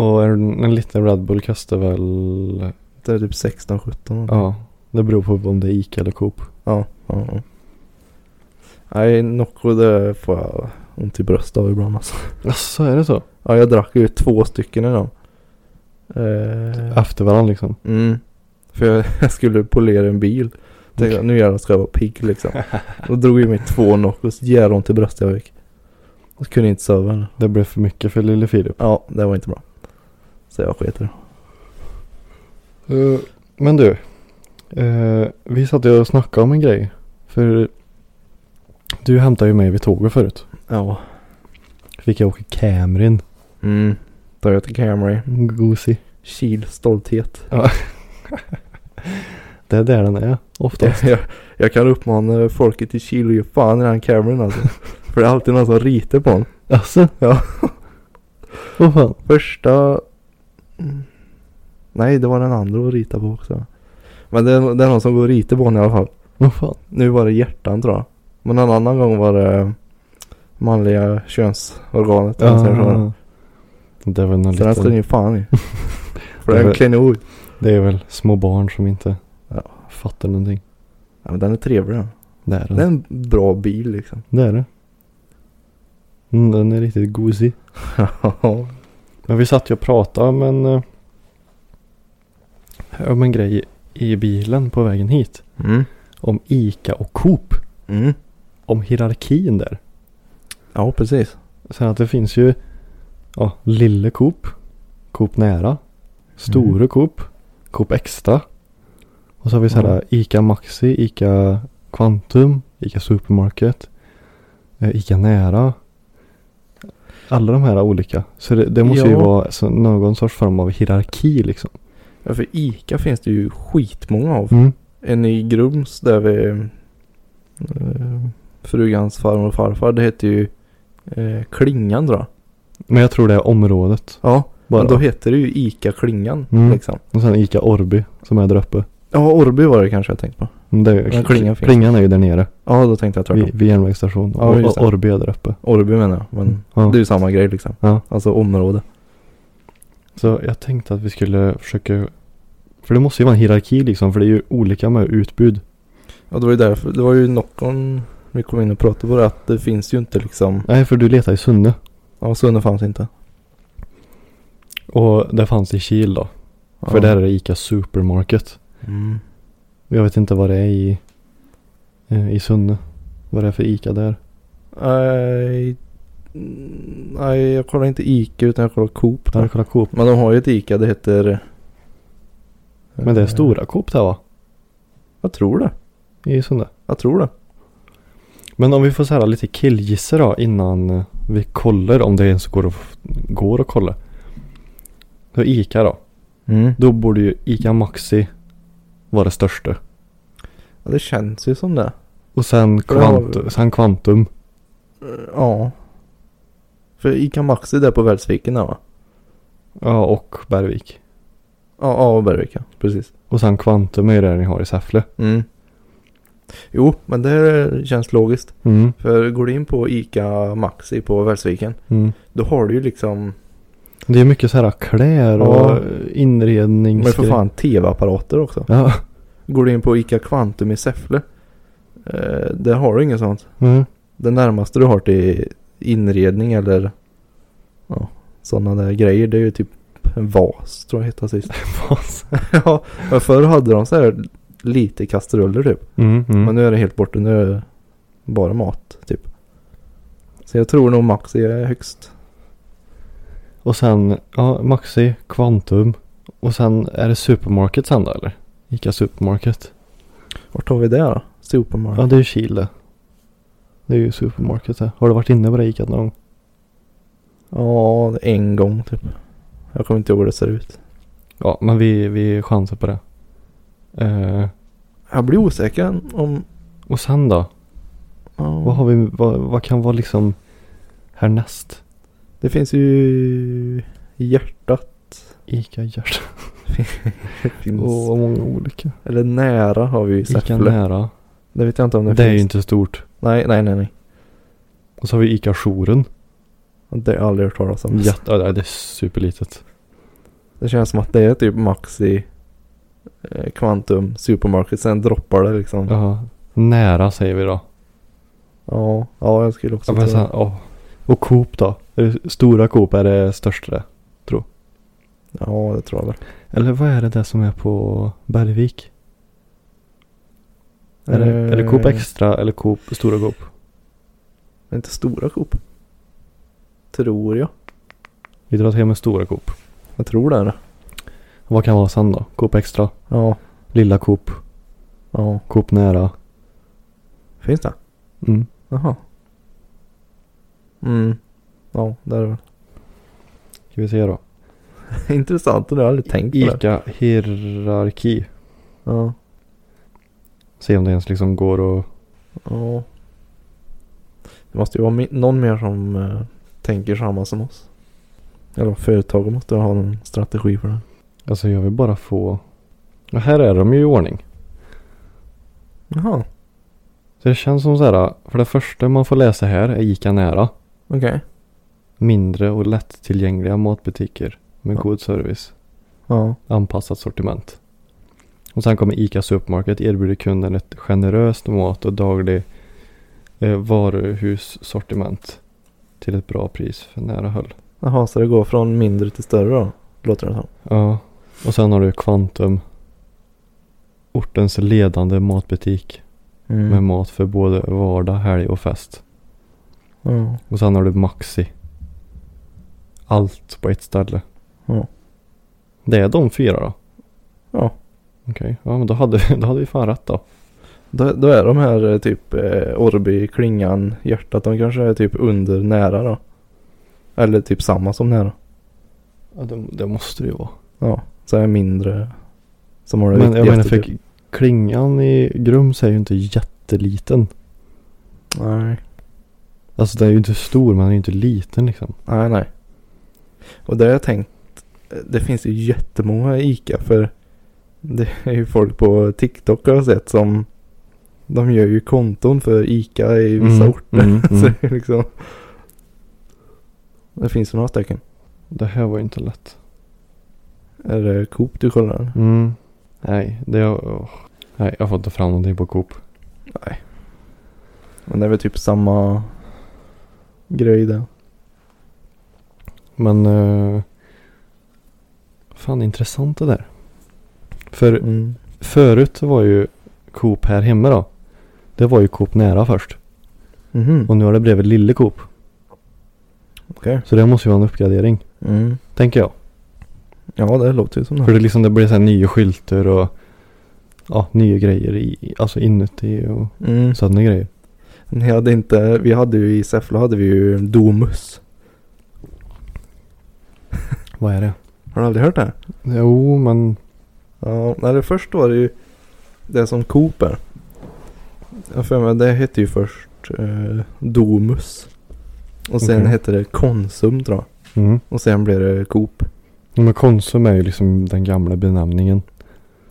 [SPEAKER 1] Och en, en liten Red Bull kostar väl
[SPEAKER 2] det är typ 16-17.
[SPEAKER 1] Ja det beror på om det är Ica eller Coop.
[SPEAKER 2] Ja, ja, ja. Nej, Nocco det får jag ont i bröstet av ibland alltså.
[SPEAKER 1] Jaså är det så?
[SPEAKER 2] Ja, jag drack ju två stycken idag. Eh,
[SPEAKER 1] Efter varandra liksom.
[SPEAKER 2] mm. För jag, [LAUGHS] jag skulle polera en bil. Tänkte jag, nu jävlar ska jag vara pigg liksom. Då drog jag mig två Noccos. Jävlar ont i bröstet jag fick. Och kunde inte sova. eller?
[SPEAKER 1] Det blev för mycket för lille Filip.
[SPEAKER 2] Ja, det var inte bra. Så jag sket i det.
[SPEAKER 1] Men du. eh, vi satt ju och snackade om en grej. För du hämtade ju mig vid tåget förut.
[SPEAKER 2] Ja.
[SPEAKER 1] Fick jag åka Camryn.
[SPEAKER 2] Mm. Toyota Camry.
[SPEAKER 1] Gosig.
[SPEAKER 2] Kil stolthet.
[SPEAKER 1] Det är där den är oftast.
[SPEAKER 2] [LAUGHS] Jag, jag kan uppmana folket i Kil att ge fan i den Camryn [LAUGHS] alltså. För det är alltid någon som ritar på den.
[SPEAKER 1] Jaså?
[SPEAKER 2] Ja.
[SPEAKER 1] Åh fan.
[SPEAKER 2] Första... Mm. Nej, det var den andra att rita på också. Men det är, det är någon som går och ritar på den i alla fall.
[SPEAKER 1] Vad fan.
[SPEAKER 2] Nu var det hjärtan tror jag. Men en annan gång var det manliga könsorganet. eller vad säger man så.
[SPEAKER 1] Ah. Det är väl någon
[SPEAKER 2] Så den ska
[SPEAKER 1] liten,
[SPEAKER 2] ni fan i. För det är en klenod.
[SPEAKER 1] Det är väl små barn som inte
[SPEAKER 2] Ja.
[SPEAKER 1] fattar någonting.
[SPEAKER 2] Ja, men den är trevlig den.
[SPEAKER 1] Det är den.
[SPEAKER 2] Det är en bra bil liksom.
[SPEAKER 1] Det är det. Mm, den är riktigt gosig.
[SPEAKER 2] Ja.
[SPEAKER 1] Men vi satt ju och pratade om en, eh, om en grej i bilen på vägen hit.
[SPEAKER 2] mm.
[SPEAKER 1] Om Ica och Coop.
[SPEAKER 2] Mm.
[SPEAKER 1] Om hierarkin där.
[SPEAKER 2] Ja, precis.
[SPEAKER 1] Sen att det finns ju ja, lille Coop. Coop nära. Store
[SPEAKER 2] Mm.
[SPEAKER 1] Coop. Coop extra. Och så har vi sådär
[SPEAKER 2] Ja.
[SPEAKER 1] Ica Maxi, Ica Quantum, Ica Supermarket, eh, Ica nära. Alla de här olika. Så det, det måste ju
[SPEAKER 2] Ja.
[SPEAKER 1] vara så någon sorts form av hierarki liksom.
[SPEAKER 2] Ja, för Ica finns det ju skitmånga av.
[SPEAKER 1] Mm.
[SPEAKER 2] En i Grums där vid eh, frugans farmor och farfar. Det heter ju eh, Klingan tror jag.
[SPEAKER 1] Men jag tror det är området.
[SPEAKER 2] Ja,
[SPEAKER 1] Bara.
[SPEAKER 2] men då heter det ju Ica Klingan
[SPEAKER 1] Mm.
[SPEAKER 2] liksom.
[SPEAKER 1] Och sen Ica Orby som är där uppe.
[SPEAKER 2] Ja, Orby var det kanske jag tänkte på.
[SPEAKER 1] Men Det är,
[SPEAKER 2] Men Klingan finns.
[SPEAKER 1] klingan är ju där nere
[SPEAKER 2] Ja, då tänkte jag
[SPEAKER 1] vid,
[SPEAKER 2] tvärtom.
[SPEAKER 1] vid järnvägsstation.
[SPEAKER 2] Ja,
[SPEAKER 1] och,
[SPEAKER 2] just det. Mm.
[SPEAKER 1] och Orby är där uppe.
[SPEAKER 2] Orby menar jag, men
[SPEAKER 1] Ja.
[SPEAKER 2] det är ju samma grej liksom.
[SPEAKER 1] Ja.
[SPEAKER 2] Alltså område.
[SPEAKER 1] Så jag tänkte att vi skulle försöka För det måste ju vara en hierarki liksom för det är ju olika med utbud.
[SPEAKER 2] Ja, det var ju därför. Det var ju någon vi kom in och pratade på det. Att det finns ju inte liksom.
[SPEAKER 1] Nej för du letar i Sunne
[SPEAKER 2] Ja, Sunne fanns inte.
[SPEAKER 1] och det fanns i Kil då.
[SPEAKER 2] Ja.
[SPEAKER 1] För där är det ICA Supermarket.
[SPEAKER 2] Mm.
[SPEAKER 1] Jag vet inte vad det är i, eh, i Sunne. Vad det är för ICA där.
[SPEAKER 2] Nej. mm, Nej, jag kollar inte Ica utan jag kollar Coop.
[SPEAKER 1] Där
[SPEAKER 2] Där.
[SPEAKER 1] har kollat Coop.
[SPEAKER 2] Men de har ju ett Ica. Det heter. Eh,
[SPEAKER 1] Men det är stora Coop där va?
[SPEAKER 2] Jag tror det.
[SPEAKER 1] I Sunne.
[SPEAKER 2] Jag tror det.
[SPEAKER 1] Men om vi får så här lite killgissa då innan eh, vi kollar om det ens går att, f- går att kolla. Då ICA då.
[SPEAKER 2] Mm.
[SPEAKER 1] Då borde ju ICA Maxi vara det största.
[SPEAKER 2] Ja, det känns ju som det.
[SPEAKER 1] Och sen,
[SPEAKER 2] För det har
[SPEAKER 1] kvant, sen Kvantum.
[SPEAKER 2] Ja. För Ica Maxi där på Välsviken där va?
[SPEAKER 1] Ja och Bergvik.
[SPEAKER 2] Ja, ja och Bergvika. Precis.
[SPEAKER 1] Och sen Kvantum är ju det ni har i Säffle.
[SPEAKER 2] Mm. Jo, men det här känns logiskt.
[SPEAKER 1] Mm.
[SPEAKER 2] För går du in på Ica Maxi på Välsviken.
[SPEAKER 1] Mm.
[SPEAKER 2] Då har du ju liksom.
[SPEAKER 1] Det är mycket så här kläder och
[SPEAKER 2] Ja.
[SPEAKER 1] eh, inrednings...
[SPEAKER 2] Men för fan tv-apparater också.
[SPEAKER 1] [LAUGHS] Ja.
[SPEAKER 2] Går du in på Ica Quantum i Säffle. Eh, där har du inget sånt.
[SPEAKER 1] Mm. [LAUGHS]
[SPEAKER 2] Det närmaste du har till inredning eller ja, sådana där grejer. Det är ju typ en vas tror jag hette sist. [LAUGHS] ja, men förr hade de så här lite kastruller typ.
[SPEAKER 1] Mm, mm.
[SPEAKER 2] Men nu är det helt borta. Nu är det bara mat typ. Så jag tror nog Maxi är högst.
[SPEAKER 1] Och sen, ja Maxi, Kvantum. Och sen är det Supermarket sen då eller? ICA Supermarket.
[SPEAKER 2] Vart har vi det då? Supermarket.
[SPEAKER 1] Ja det är ju Kil det. Det är ju Supermarket det. Har du varit inne på det ICA någon gång?
[SPEAKER 2] Ja, en gång typ. Jag kommer inte ihåg hur det ser ut.
[SPEAKER 1] Ja men vi, vi chansar på det. Eh,
[SPEAKER 2] Jag blir osäker om...
[SPEAKER 1] och sen då?
[SPEAKER 2] ja.
[SPEAKER 1] Vad har vi, vad, vad kan vara liksom härnäst?
[SPEAKER 2] Det finns ju
[SPEAKER 1] [LAUGHS]
[SPEAKER 2] hjärtat.
[SPEAKER 1] ICA Hjärt.
[SPEAKER 2] Finns.
[SPEAKER 1] Och vad många olika.
[SPEAKER 2] Eller nära har vi ju i
[SPEAKER 1] ICA
[SPEAKER 2] Säffle.
[SPEAKER 1] Nära.
[SPEAKER 2] Det vet jag inte om det,
[SPEAKER 1] Det är
[SPEAKER 2] finns.
[SPEAKER 1] ju inte stort.
[SPEAKER 2] Nej, nej, nej, nej.
[SPEAKER 1] Och så har vi ICA Jouren.
[SPEAKER 2] Det har jag aldrig hört talas om.
[SPEAKER 1] Jätte, ja, det är superlitet.
[SPEAKER 2] Det känns som att det är typ Maxi, eh, Quantum, Supermarket. Sen droppar det liksom. Ja,
[SPEAKER 1] Ja. Nära säger vi då.
[SPEAKER 2] ja, jag skulle också
[SPEAKER 1] Ja, men
[SPEAKER 2] tro
[SPEAKER 1] sen, ja. Och Coop då? Är det, stora Coop är det största det.
[SPEAKER 2] Ja, det tror jag väl.
[SPEAKER 1] Eller vad är det där som är på Bergvik? Är, det, är det Coop
[SPEAKER 2] Eh,
[SPEAKER 1] Extra eller Coop, Stora Coop?
[SPEAKER 2] är Inte stora Coop. Tror jag.
[SPEAKER 1] Vi drar till med Stora Coop.
[SPEAKER 2] Jag tror det är det.
[SPEAKER 1] Vad kan vara sen då? Coop Extra?
[SPEAKER 2] Ja,
[SPEAKER 1] Lilla Coop?
[SPEAKER 2] ja.
[SPEAKER 1] Coop Nära?
[SPEAKER 2] Finns det?
[SPEAKER 1] Mm.
[SPEAKER 2] Jaha. Mm. Ja, det är det väl. [LAUGHS]
[SPEAKER 1] Ska vi se då.
[SPEAKER 2] Intressant, det har jag aldrig tänkt på. det.
[SPEAKER 1] Ica Hierarki.
[SPEAKER 2] Ja.
[SPEAKER 1] Se om det ens liksom går att...
[SPEAKER 2] Ja. Det måste ju vara mi- någon mer som eh, tänker samma som oss. Eller företaget måste ha en strategi för det.
[SPEAKER 1] Alltså jag vill bara få... Och här är de ju i ordning.
[SPEAKER 2] Jaha,
[SPEAKER 1] Så det känns som så här, för det första man får läsa här är ICA nära.
[SPEAKER 2] okej.
[SPEAKER 1] Mindre och lättillgängliga matbutiker med
[SPEAKER 2] Ja.
[SPEAKER 1] god service.
[SPEAKER 2] Ja.
[SPEAKER 1] Anpassat sortiment. Och sen kommer ICA Supermarket erbjuder kunden ett generöst mat och daglig eh, varuhussortiment. Till ett bra pris för nära höll.
[SPEAKER 2] Jaha, så det går från mindre till större då? Låter det som.
[SPEAKER 1] Ja, och sen har du Kvantum. Ortens ledande matbutik med
[SPEAKER 2] Mm.
[SPEAKER 1] mat för både vardag, helg och fest.
[SPEAKER 2] Ja.
[SPEAKER 1] Och sen har du Maxi. Allt på ett ställe.
[SPEAKER 2] Ja.
[SPEAKER 1] Det är de fyra då?
[SPEAKER 2] ja.
[SPEAKER 1] Okej, ja men då hade, vi- [LAUGHS] då hade vi fan rätt då.
[SPEAKER 2] Då, då är de här eh, typ eh, Orby, Klingan, Hjärtat. De kanske är typ under nära då. Eller typ samma som nära.
[SPEAKER 1] Ja, det, det måste det ju vara.
[SPEAKER 2] Ja. Så är mindre. Som har det
[SPEAKER 1] Men jag menar
[SPEAKER 2] viktigaste, typ.
[SPEAKER 1] för klingan i Grums är ju inte jätteliten.
[SPEAKER 2] Nej.
[SPEAKER 1] Alltså den är ju inte stor men den är ju inte liten liksom.
[SPEAKER 2] Nej, nej. Och det har jag tänkt. eh, Det finns ju jättemånga ICA för det är ju folk på TikTok har jag sett som de gör ju konton för ICA i vissa
[SPEAKER 1] Mm,
[SPEAKER 2] orter.
[SPEAKER 1] mm,
[SPEAKER 2] [LAUGHS] Så
[SPEAKER 1] mm.
[SPEAKER 2] det är liksom. Det finns ju några stycken.
[SPEAKER 1] Det här var ju inte lätt.
[SPEAKER 2] Är det Coop du kollar?
[SPEAKER 1] Mm. Nej, det... åh. Nej, jag får inte fram någonting på Coop.
[SPEAKER 2] Men det är väl typ samma grej det.
[SPEAKER 1] Men... eh, fan intressant det där. För
[SPEAKER 2] Mm.
[SPEAKER 1] förut så var ju Coop här hemma då. Det var ju Coop nära först.
[SPEAKER 2] Mhm.
[SPEAKER 1] Och nu har det blivit Lille Coop.
[SPEAKER 2] Okej.
[SPEAKER 1] Så det måste ju vara en uppgradering.
[SPEAKER 2] Mm.
[SPEAKER 1] Tänker jag.
[SPEAKER 2] Ja, det låter ju som
[SPEAKER 1] För
[SPEAKER 2] det.
[SPEAKER 1] det, liksom, det blir så här nya skyltar och ja, nya grejer i, alltså inuti och
[SPEAKER 2] Mm.
[SPEAKER 1] sådana grejer.
[SPEAKER 2] Ni hade inte, vi hade ju i Säffle hade vi ju Domus.
[SPEAKER 1] Vad är det?
[SPEAKER 2] Har du aldrig hört det?
[SPEAKER 1] Jo, men
[SPEAKER 2] Ja, nej det först var det ju det som Coop är. Jag för mig, det hette ju först eh, Domus. Och sen
[SPEAKER 1] Okej.
[SPEAKER 2] hette det Konsum tror jag.
[SPEAKER 1] mm.
[SPEAKER 2] Och sen blev det Coop.
[SPEAKER 1] Men Konsum är ju liksom den gamla benämningen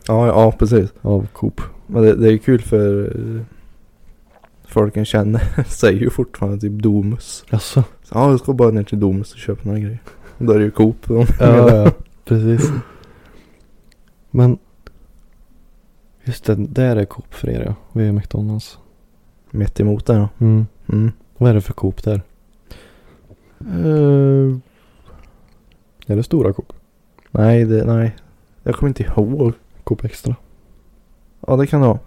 [SPEAKER 2] Ja, ja precis.
[SPEAKER 1] av Coop.
[SPEAKER 2] Men det, det är ju kul för eh, folken känner, [LAUGHS] säger ju fortfarande typ Domus.
[SPEAKER 1] Jaså?
[SPEAKER 2] Så, Ja, jag ska bara ner till Domus och köpa några grejer. Då är det ju Coop. de menar.
[SPEAKER 1] Ja, ja, [LAUGHS] precis. Men just det, där är Coop för er ja. Vi är McDonalds.
[SPEAKER 2] [LAUGHS] Mitt emot där ja.
[SPEAKER 1] Mm.
[SPEAKER 2] Mm.
[SPEAKER 1] Vad är det för Coop där? Eh, Är det stora Coop?
[SPEAKER 2] nej, det, nej. Jag kommer inte ihåg.
[SPEAKER 1] Coop Extra?
[SPEAKER 2] Ja, det kan det vara.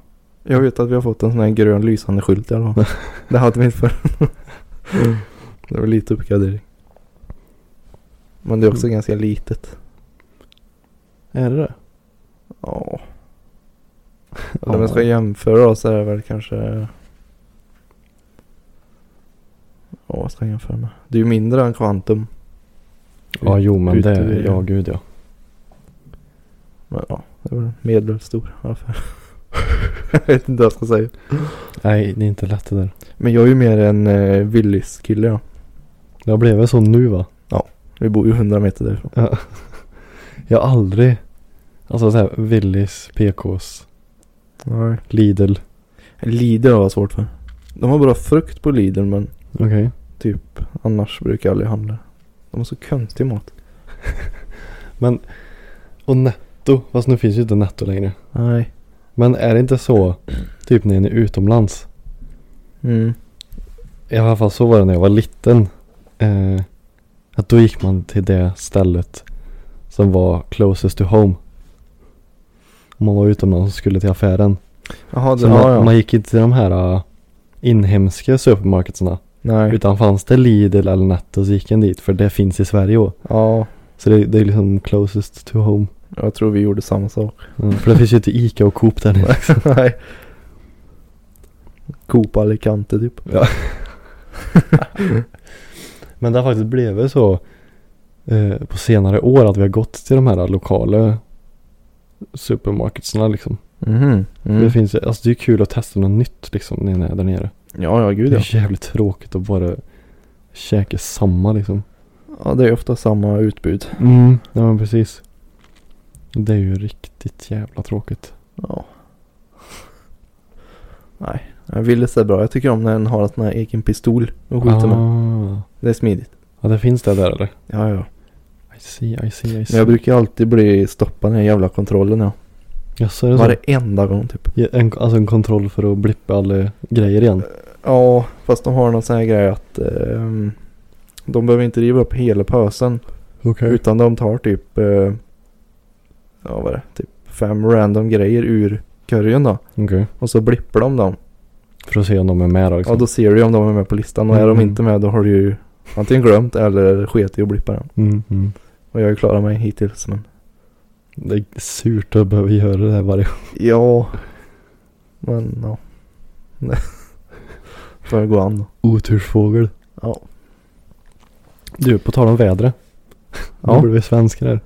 [SPEAKER 2] Jag vet att vi har fått en sån här grön lysande skylt
[SPEAKER 1] [LAUGHS]
[SPEAKER 2] i alla fall. det hade vi inte förr.
[SPEAKER 1] Mm.
[SPEAKER 2] det var lite uppgradering. Men det är
[SPEAKER 1] Mm.
[SPEAKER 2] också ganska litet.
[SPEAKER 1] Är det [LAUGHS] det?
[SPEAKER 2] Ja. Om man ska jämföra då så är det väl kanske... Ja, vad ska jag jämföra med? Det är ju mindre än Quantum.
[SPEAKER 1] Ja, jo men det
[SPEAKER 2] Ute
[SPEAKER 1] är...
[SPEAKER 2] i-
[SPEAKER 1] Ja, gud ja.
[SPEAKER 2] Men ja, det var medelstor. Varför? [LAUGHS] jag vet inte vad jag ska säga.
[SPEAKER 1] Nej, det är inte lätt det där.
[SPEAKER 2] Men jag är ju mer en eh, Willys-kille jag.
[SPEAKER 1] Det har blivit så nu va?
[SPEAKER 2] Vi bor ju 100 meter därifrån.
[SPEAKER 1] Ja. [LAUGHS] Jag har aldrig... Alltså såhär Willys, PKs,
[SPEAKER 2] Nej.
[SPEAKER 1] Lidl.
[SPEAKER 2] Lidl har jag svårt för. De har bra frukt på Lidl men
[SPEAKER 1] Okej.
[SPEAKER 2] annars brukar jag aldrig handla. De har så konstig mat.
[SPEAKER 1] Och Netto. Fast nu finns ju inte Netto längre.
[SPEAKER 2] Nej.
[SPEAKER 1] Men är det inte så? Typ när ni är utomlands.
[SPEAKER 2] Mm.
[SPEAKER 1] I alla fall så var det när jag var liten. Eh, att då gick man till det stället som var closest to home. Om man var utomlands och skulle till affären.
[SPEAKER 2] Jaha, det,
[SPEAKER 1] Så man,
[SPEAKER 2] ja, ja.
[SPEAKER 1] man gick inte till de här eh, inhemska supermarketerna.
[SPEAKER 2] Nej.
[SPEAKER 1] Utan fanns det Lidl eller Netto så gick en dit. För det finns i Sverige också.
[SPEAKER 2] Ja,
[SPEAKER 1] Så det, det är liksom closest to home.
[SPEAKER 2] jag tror vi gjorde samma sak.
[SPEAKER 1] Mm, för det finns ju inte Ica och Coop där nere.
[SPEAKER 2] [LAUGHS] Nej. Mm. Coop Alicante typ.
[SPEAKER 1] Men det har faktiskt blivit så eh, på senare år att vi har gått till de här lokala supermarketsna liksom.
[SPEAKER 2] Mhm.
[SPEAKER 1] Det,
[SPEAKER 2] Mm.
[SPEAKER 1] finns, ju- alltså, det är ju kul att testa något nytt liksom när ni är där nere.
[SPEAKER 2] Ja, ja gud
[SPEAKER 1] Det
[SPEAKER 2] ja.
[SPEAKER 1] är jävligt tråkigt att bara käka samma liksom.
[SPEAKER 2] Ja, det är ofta samma utbud.
[SPEAKER 1] Mm. Ja men precis. Det är ju riktigt jävla tråkigt.
[SPEAKER 2] Ja. Nej, jag vill det är bra. Jag tycker om när den har en sån här egen pistol och skjuter med.
[SPEAKER 1] ah.
[SPEAKER 2] Det är smidigt.
[SPEAKER 1] Ja det finns det där eller?
[SPEAKER 2] Ja, ja.
[SPEAKER 1] I see, I see, I
[SPEAKER 2] Men
[SPEAKER 1] see.
[SPEAKER 2] jag brukar alltid bli stoppad i den här jävla kontrollen ja.
[SPEAKER 1] Jaså, är det så?
[SPEAKER 2] Varenda gång typ.
[SPEAKER 1] Ja, En, alltså en kontroll för att blippa alla grejer igen.
[SPEAKER 2] Ja, fast de har någon sån här grej att ehm, de behöver inte riva upp hela pösen.
[SPEAKER 1] Okej.
[SPEAKER 2] Utan de tar typ, eh, ja vad är det, typ fem random grejer ur korgen då.
[SPEAKER 1] Okej.
[SPEAKER 2] Och så blippar de dem.
[SPEAKER 1] För att se om de är med då liksom.
[SPEAKER 2] Ja, då ser du om de är med på listan. Och är de
[SPEAKER 1] Mm.
[SPEAKER 2] inte med då har du ju antingen glömt eller sket i att blippa den.
[SPEAKER 1] Mm, mm.
[SPEAKER 2] Och jag har ju klarat mig hittills men.
[SPEAKER 1] Det är surt att behöva göra det här varje gång.
[SPEAKER 2] Ja. Men ja. [LAUGHS] Nej. Får jag gå an då.
[SPEAKER 1] Otursfågel.
[SPEAKER 2] Ja.
[SPEAKER 1] Du, på tal om vädret.
[SPEAKER 2] Ja.
[SPEAKER 1] Nu blir vi svenskar
[SPEAKER 2] [LAUGHS]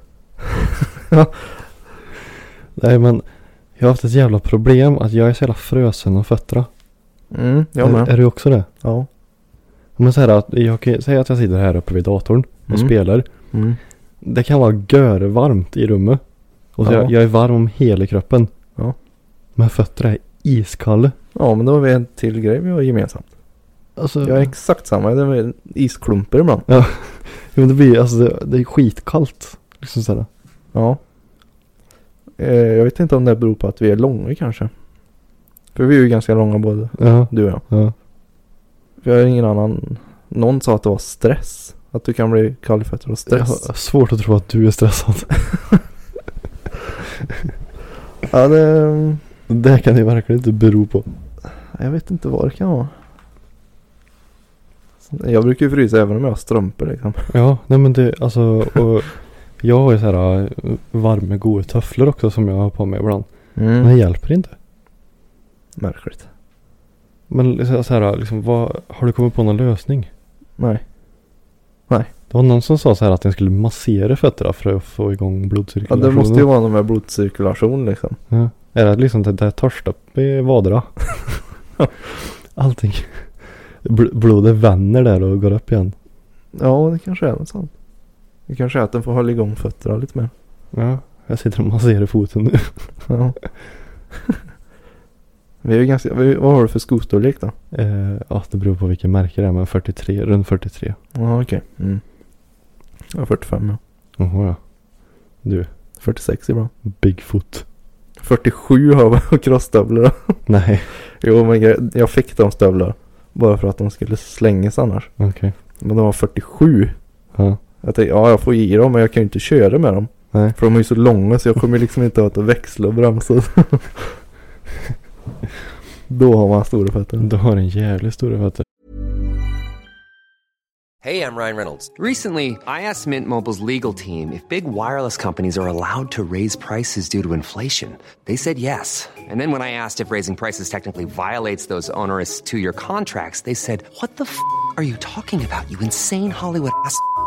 [SPEAKER 1] här. Nej men. Jag har haft ett jävla problem att jag är så jävla frösen om fötterna.
[SPEAKER 2] Mm, jag
[SPEAKER 1] är,
[SPEAKER 2] med.
[SPEAKER 1] är du också det?
[SPEAKER 2] Ja.
[SPEAKER 1] Men så här att jag kan säga att jag sitter här uppe vid datorn och
[SPEAKER 2] Mm.
[SPEAKER 1] spelar.
[SPEAKER 2] Mm.
[SPEAKER 1] Det kan vara görvarmt i rummet. Och så
[SPEAKER 2] Ja.
[SPEAKER 1] jag, jag är varm om hela kroppen.
[SPEAKER 2] Ja.
[SPEAKER 1] Men fötterna är iskalla.
[SPEAKER 2] Ja men då har vi en till grej vi har gemensamt.
[SPEAKER 1] Alltså,
[SPEAKER 2] Jag är exakt samma. Det är isklumpar ibland.
[SPEAKER 1] Ja, men det blir alltså det, det är skitkallt. Liksom sådär.
[SPEAKER 2] Ja. eh, jag vet inte om det beror på att vi är långa kanske. För vi är ju ganska långa både
[SPEAKER 1] Ja.
[SPEAKER 2] du och jag.
[SPEAKER 1] Ja.
[SPEAKER 2] För jag har ingen annan. Någon sa att det var stress. Att du kan bli kall i fötter av
[SPEAKER 1] Jag
[SPEAKER 2] stress.
[SPEAKER 1] har svårt att tro att du är stressad. [LAUGHS]
[SPEAKER 2] Ja, det,
[SPEAKER 1] Det kan det verkligen inte bero på.
[SPEAKER 2] jag vet inte vad det kan vara. Jag brukar ju frysa även om jag har strumpor liksom.
[SPEAKER 1] Ja, nej men det alltså. Och jag har ju så här äh, varma goda tofflor också som jag har på mig ibland.
[SPEAKER 2] Mm.
[SPEAKER 1] Men det hjälper inte.
[SPEAKER 2] Märkligt.
[SPEAKER 1] Men så så här liksom, vad, har du kommit på någon lösning?
[SPEAKER 2] Nej.
[SPEAKER 1] Det var någon som sa så här att den skulle massera fötterna för att få igång
[SPEAKER 2] Ja,
[SPEAKER 1] blodcirkulationen.
[SPEAKER 2] det måste ju vara någon med blodcirkulation liksom.
[SPEAKER 1] Ja. Är det liksom det där törs upp i vaderna? [LAUGHS] Allting. Bl- blodet vänner där och går upp igen.
[SPEAKER 2] Ja, det kanske är något sånt. Det kanske är att den får hålla igång fötterna lite mer.
[SPEAKER 1] Ja. Jag sitter och masserar foten [LAUGHS] nu.
[SPEAKER 2] Ja. [LAUGHS] vi är ju ganska, vi, vad har du för skostorlek då?
[SPEAKER 1] Eh, ja, det beror på vilken märke det är men 43, runt 43.
[SPEAKER 2] Ja, okej. Mm. Jag har 45 ja.
[SPEAKER 1] Jaha ja. Du,
[SPEAKER 2] 46 ibland.
[SPEAKER 1] Bigfoot.
[SPEAKER 2] 47 har vi och crossstövlar då.
[SPEAKER 1] Nej,
[SPEAKER 2] Jo men jag, jag fick de stövlar. Bara för att de skulle slängas annars.
[SPEAKER 1] okej.
[SPEAKER 2] Men de var 47.
[SPEAKER 1] Ja.
[SPEAKER 2] Jag tänkte, ja jag får ge dem men jag kan ju inte köra med dem.
[SPEAKER 1] Nej.
[SPEAKER 2] För de är ju så långa så jag kommer liksom inte åt att växla
[SPEAKER 1] [LAUGHS]
[SPEAKER 2] och bromsa. Då har man stora fötter.
[SPEAKER 1] Du har en jävligt stor fötter.
[SPEAKER 3] Hey, I'm Ryan Reynolds. Recently, I asked Mint Mobile's legal team if big wireless companies are allowed to raise prices due to inflation. They said yes. And then when I asked if raising prices technically violates those onerous two year contracts, they said, What the f are you talking about, you insane Hollywood ass? f-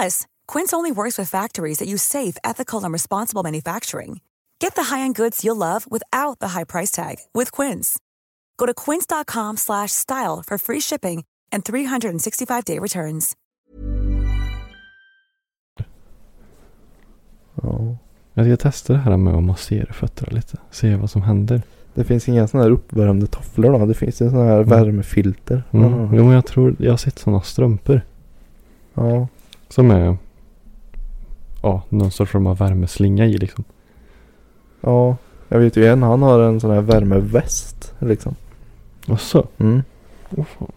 [SPEAKER 4] Plus, Quince only works with factories that use safe, ethical, and responsible manufacturing. Get the high-end goods you'll love without the high price tag with Quince. Go to quince.com/style slash style for free shipping and 365-day returns.
[SPEAKER 2] Ja.
[SPEAKER 1] Jag ska testa det här med att massera fötterna lite. Se vad som händer.
[SPEAKER 2] Det finns inga sådana här uppvärmda tofflor då. Det finns ju sådana här värmefilter.
[SPEAKER 1] Mm. Jo men jag tror, jag har sett sådana strumpor.
[SPEAKER 2] Ja.
[SPEAKER 1] Som är ja, någon sorts form av värmeslinga i liksom.
[SPEAKER 2] Ja. Jag vet ju en, han har en sån här värmeväst liksom.
[SPEAKER 1] Och så.
[SPEAKER 2] Mm.
[SPEAKER 1] Åh, fan.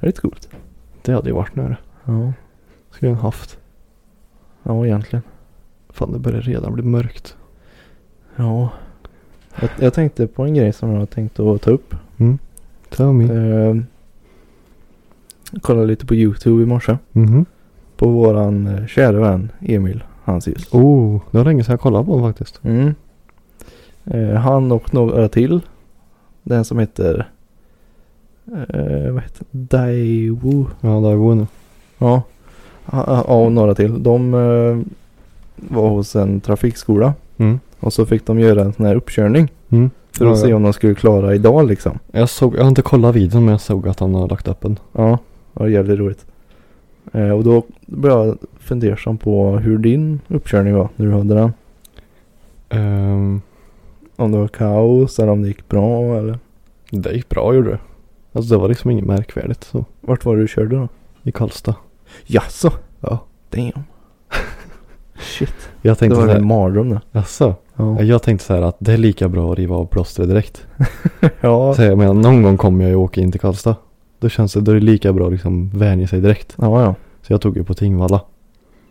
[SPEAKER 2] Det är lite coolt.
[SPEAKER 1] Det hade ju varit nära.
[SPEAKER 2] Ja.
[SPEAKER 1] Skulle jag haft.
[SPEAKER 2] Ja, egentligen.
[SPEAKER 1] Fan det börjar redan bli mörkt.
[SPEAKER 2] Ja. Jag, jag tänkte på en grej som jag har tänkt att ta upp.
[SPEAKER 1] Tell me.
[SPEAKER 2] Eh, kollade lite på YouTube i morse.
[SPEAKER 1] Mhm.
[SPEAKER 2] På våran eh, kära vän Emil Hansius.
[SPEAKER 1] Oh, det var länge sedan jag kollade på den faktiskt.
[SPEAKER 2] Mm. Eh, han och några till. Den som heter... Eh, vad heter Daewoo.
[SPEAKER 1] Ja, där var nu.
[SPEAKER 2] Ja. Ha- ha- Ja, och några till. De eh, var hos en trafikskola.
[SPEAKER 1] Mm.
[SPEAKER 2] Och så fick de göra en sån här uppkörning.
[SPEAKER 1] Mm.
[SPEAKER 2] För att
[SPEAKER 1] Ja,
[SPEAKER 2] se
[SPEAKER 1] ja.
[SPEAKER 2] om de skulle klara idag liksom.
[SPEAKER 1] Jag såg, jag har inte kollat videon men jag såg att han har lagt upp den.
[SPEAKER 2] Ja, det var jävligt roligt. Eh, och då blev jag fundersam på hur din uppkörning var när du hade den.
[SPEAKER 1] Ehm,
[SPEAKER 2] Om det var kaos eller om det gick bra eller
[SPEAKER 1] det gick bra gjorde det. Alltså det var liksom inget märkvärdigt så.
[SPEAKER 2] vart var det du körde då?
[SPEAKER 1] I Karlstad.
[SPEAKER 2] Jaså?
[SPEAKER 1] Ja.
[SPEAKER 2] Damn. [LAUGHS] Shit.
[SPEAKER 1] Jag
[SPEAKER 2] Det
[SPEAKER 1] tänkte
[SPEAKER 2] var en
[SPEAKER 1] såhär.
[SPEAKER 2] mardröm det.
[SPEAKER 1] Jaså? Ja,
[SPEAKER 2] Ja.
[SPEAKER 1] Jag tänkte så här att det är lika bra att riva av plåstret direkt.
[SPEAKER 2] [LAUGHS] Ja.
[SPEAKER 1] Så jag menar, någon gång kommer jag ju åka in till Karlstad. Då känns det, då är det lika bra att liksom vänja sig direkt.
[SPEAKER 2] Ja, ja.
[SPEAKER 1] Så jag tog ju på Tingvalla.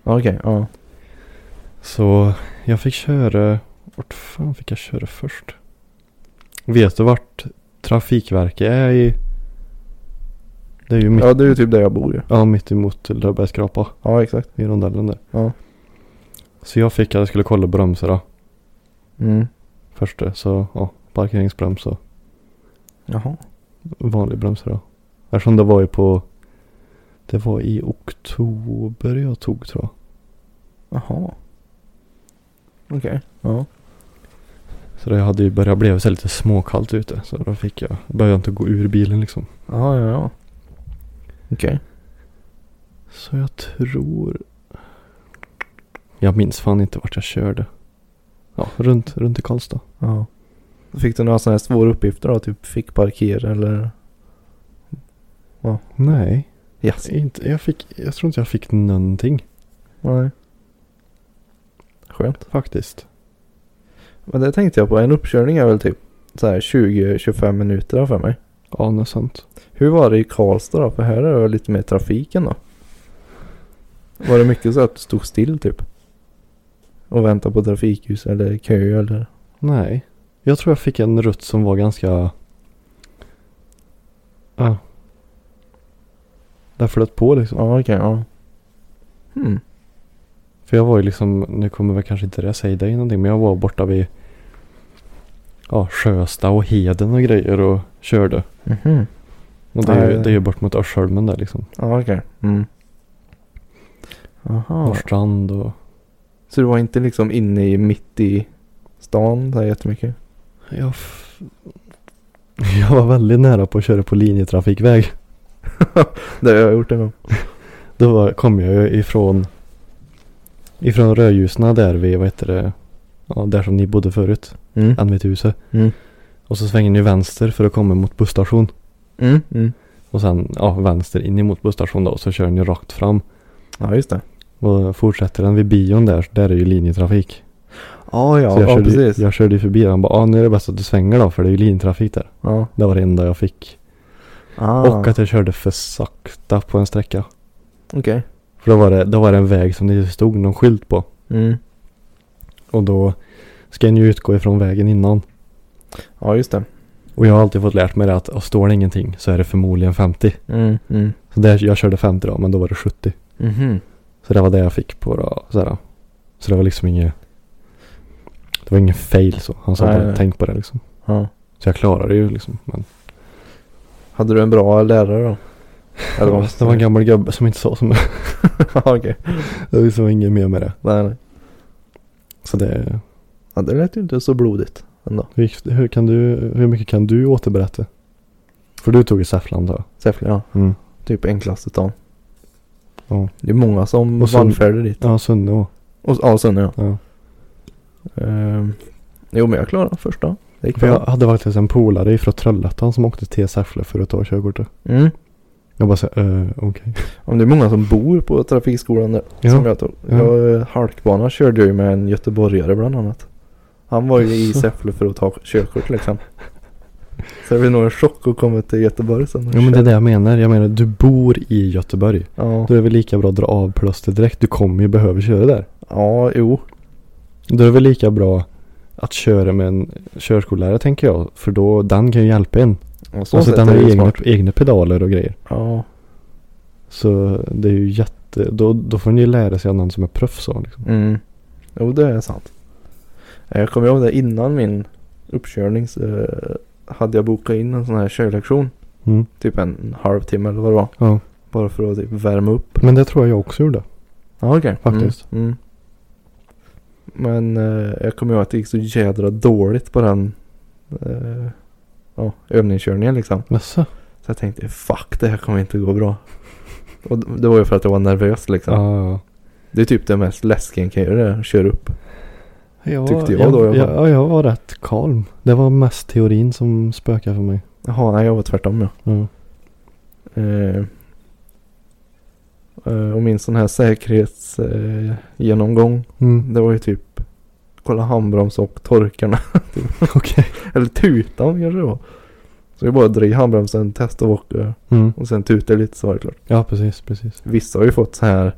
[SPEAKER 2] Okej, ja.
[SPEAKER 1] Så jag fick köra, vart fan fick jag köra först? Vet du vart Trafikverket är i? Det är ju mitt,
[SPEAKER 2] Ja, det är ju typ där jag bor ju.
[SPEAKER 1] ja, mitt emot Löfbergskrapa
[SPEAKER 2] Ja, exakt.
[SPEAKER 1] i rondellen där.
[SPEAKER 2] Ja.
[SPEAKER 1] Så jag fick att jag skulle kolla bromsarna
[SPEAKER 2] Mm.
[SPEAKER 1] först. Så ja, parkeringsbroms och
[SPEAKER 2] Jaha.
[SPEAKER 1] vanlig bromsa då. Eftersom det var ju på... Det var i oktober jag tog tror jag.
[SPEAKER 2] Jaha. Okej. Ja.
[SPEAKER 1] Så det hade ju börjat bli så lite småkallt ute. Så då fick jag, började jag inte gå ur bilen liksom.
[SPEAKER 2] Ja, ja, ja. Okej.
[SPEAKER 1] Så jag tror... Jag minns fan inte vart jag körde. Ja, runt, runt i Karlstad.
[SPEAKER 2] Ja. Fick du några sådana här svåra uppgifter då? Typ fick parkera eller?
[SPEAKER 1] Nej,
[SPEAKER 2] Yes.
[SPEAKER 1] inte, jag, fick, jag tror inte jag fick någonting
[SPEAKER 2] Nej. Skönt.
[SPEAKER 1] faktiskt.
[SPEAKER 2] Men det tänkte jag på. En uppkörning är väl typ så här 20-25 minuter då för mig.
[SPEAKER 1] Ja, något sånt.
[SPEAKER 2] Hur var det i Karlstad då? För här är det väl lite mer trafiken då. Var det mycket så att du stod still typ? Och väntade på trafikljus eller kö eller?
[SPEAKER 1] Nej. Jag tror jag fick en rutt som var ganska... Ja. Där flöt på liksom.
[SPEAKER 2] Ja, okej. ja. Hmm.
[SPEAKER 1] För jag var ju liksom, nu kommer väl kanske inte det säga dig någonting, men jag var borta vid ja, Sjösta och Heden och grejer och körde.
[SPEAKER 2] Mhm.
[SPEAKER 1] Och det är, ju,
[SPEAKER 2] Nej.
[SPEAKER 1] det är ju bort mot Örsholmen där liksom.
[SPEAKER 2] Ja, okej. Mm. Aha.
[SPEAKER 1] Norrstrand och...
[SPEAKER 2] Så du var inte liksom inne i mitt i stan där jättemycket? [LAUGHS]
[SPEAKER 1] Jag, f- [LAUGHS] jag var väldigt nära på att köra på linjetrafikväg.
[SPEAKER 2] Det har jag gjort en gång.
[SPEAKER 1] Då var, kom jag ju ifrån ifrån rödljusna där vid, vad heter det, ja, där som ni bodde förut,
[SPEAKER 2] Mm.
[SPEAKER 1] Anvithuset.
[SPEAKER 2] Mm.
[SPEAKER 1] Och så svänger ni vänster för att komma mot busstation.
[SPEAKER 2] Mm. Mm.
[SPEAKER 1] Och sen ja, vänster in emot busstationen då och så kör ni rakt fram.
[SPEAKER 2] Ja, just det.
[SPEAKER 1] Och fortsätter den vid bion där, där är ju linjetrafik.
[SPEAKER 2] Ja, ja,
[SPEAKER 1] så jag,
[SPEAKER 2] ja
[SPEAKER 1] körde,
[SPEAKER 2] precis.
[SPEAKER 1] jag körde ju förbi den och bara, ah, nu är det bäst att du svänger då för det är ju linjetrafik där.
[SPEAKER 2] Ja.
[SPEAKER 1] Det var det enda jag fick.
[SPEAKER 2] Ah.
[SPEAKER 1] Och att jag körde för sakta på en sträcka.
[SPEAKER 2] Okej.
[SPEAKER 1] För då var det, då var det en väg som det inte stod någon skylt på.
[SPEAKER 2] Mm.
[SPEAKER 1] Och då ska en ju utgå ifrån vägen innan.
[SPEAKER 2] Ja, just det.
[SPEAKER 1] Och jag har alltid fått lärt mig det att, och står det ingenting så är det förmodligen 50.
[SPEAKER 2] Mm. Mm.
[SPEAKER 1] Så där, jag körde 50 då, men då var det 70.
[SPEAKER 2] Mhm.
[SPEAKER 1] Så det var det jag fick på då, så, här. så det var liksom inget Det var ingen fail så. Han sa
[SPEAKER 2] Nej,
[SPEAKER 1] bara
[SPEAKER 2] nej.
[SPEAKER 1] tänk på det liksom.
[SPEAKER 2] Ja.
[SPEAKER 1] Så jag klarade det ju liksom. Men
[SPEAKER 2] Hade du en bra lärare [LAUGHS] då? Eller vad?
[SPEAKER 1] det var en gammal gubbe som inte sa som
[SPEAKER 2] [LAUGHS] Ja, okej.
[SPEAKER 1] Det var liksom inget mer med det.
[SPEAKER 2] Nej, nej.
[SPEAKER 1] Så det,
[SPEAKER 2] Ja, det lät ju inte så blodigt ändå.
[SPEAKER 1] hur, gick- hur, kan du, hur mycket kan du återberätta? För du tog i Säffland då?
[SPEAKER 2] Säffle, ja.
[SPEAKER 1] Mm.
[SPEAKER 2] Typ enklaste stan.
[SPEAKER 1] Ja.
[SPEAKER 2] Det är många som
[SPEAKER 1] Och sen-
[SPEAKER 2] vallfärdar dit.
[SPEAKER 1] Ja, Sunne och.
[SPEAKER 2] Och, ja, sen ja.
[SPEAKER 1] Ja.
[SPEAKER 2] Ehm, jo, men jag klarade första. Det gick
[SPEAKER 1] För jag
[SPEAKER 2] bra.
[SPEAKER 1] hade faktiskt en polare ifrån Trollhättan som åkte till Säffle för att ta körkortet.
[SPEAKER 2] Mm.
[SPEAKER 1] Jag bara såhär, eh, okej.
[SPEAKER 2] Om det är många som bor på trafikskolan där.
[SPEAKER 1] Ja.
[SPEAKER 2] Som jag tog.
[SPEAKER 1] Ja.
[SPEAKER 2] Jag, eh, halkbana körde jag ju med en göteborgare bland annat. Han var ju i
[SPEAKER 1] Jaså.
[SPEAKER 2] Säffle för att ta körkort liksom. Så det blir nog en chock att komma till Göteborg sen. och
[SPEAKER 1] Jo men det är
[SPEAKER 2] köra.
[SPEAKER 1] det jag menar. Jag menar du bor i Göteborg.
[SPEAKER 2] Ja.
[SPEAKER 1] Då är det väl lika bra att dra av plåster direkt. Du kommer ju behöva köra där.
[SPEAKER 2] ja, jo.
[SPEAKER 1] Då är det väl lika bra att köra med en körskollärare tänker jag. För då, den kan ju hjälpa en.
[SPEAKER 2] Och så
[SPEAKER 1] Alltså
[SPEAKER 2] sätt
[SPEAKER 1] den
[SPEAKER 2] är
[SPEAKER 1] har
[SPEAKER 2] det
[SPEAKER 1] ju
[SPEAKER 2] ju
[SPEAKER 1] egna,
[SPEAKER 2] smart.
[SPEAKER 1] egna pedaler och grejer.
[SPEAKER 2] Ja.
[SPEAKER 1] Så det är ju jätte... Då, då får ni ju lära sig av någon som är proffs av liksom.
[SPEAKER 2] Mm. Jo, det är sant. Eh, Jag kommer ihåg det innan min uppkörning så eh, hade jag bokat in en sån här körlektion.
[SPEAKER 1] Mm.
[SPEAKER 2] Typ en halvtimme eller vad det var.
[SPEAKER 1] Ja.
[SPEAKER 2] Bara för att typ värma upp.
[SPEAKER 1] Men det tror jag jag också gjorde.
[SPEAKER 2] Ja, okej.
[SPEAKER 1] Faktiskt.
[SPEAKER 2] Mm. Mm. Men eh, jag kommer ihåg att det gick så jädra dåligt på den eh, ja, övningskörningen liksom.
[SPEAKER 1] Jaså?
[SPEAKER 2] Så jag tänkte fuck det här kommer inte gå bra. Och d- det var ju för att jag var nervös liksom.
[SPEAKER 1] Ja.
[SPEAKER 2] Det är typ det mest läskiga en kan göra, det är att köra upp.
[SPEAKER 1] Jag,
[SPEAKER 2] Tyckte jag då i alla fall.
[SPEAKER 1] Ja, jag var rätt kalm. Det var mest teorin som spökade för mig.
[SPEAKER 2] Jaha, nej jag var tvärtom ja.
[SPEAKER 1] Ja.
[SPEAKER 2] Eh, eh, och min sån här säkerhetsgenomgång. Eh, genomgång,
[SPEAKER 1] Mm.
[SPEAKER 2] det var ju typ kolla handbroms och torkarna.
[SPEAKER 1] [LAUGHS] Okej.
[SPEAKER 2] Eller tutan kanske det var. Så jag bara drar i handbromsen, testar och åker.
[SPEAKER 1] Mm.
[SPEAKER 2] Och sen tutar lite så var det klart.
[SPEAKER 1] Ja, precis, precis.
[SPEAKER 2] Vissa har ju fått så här.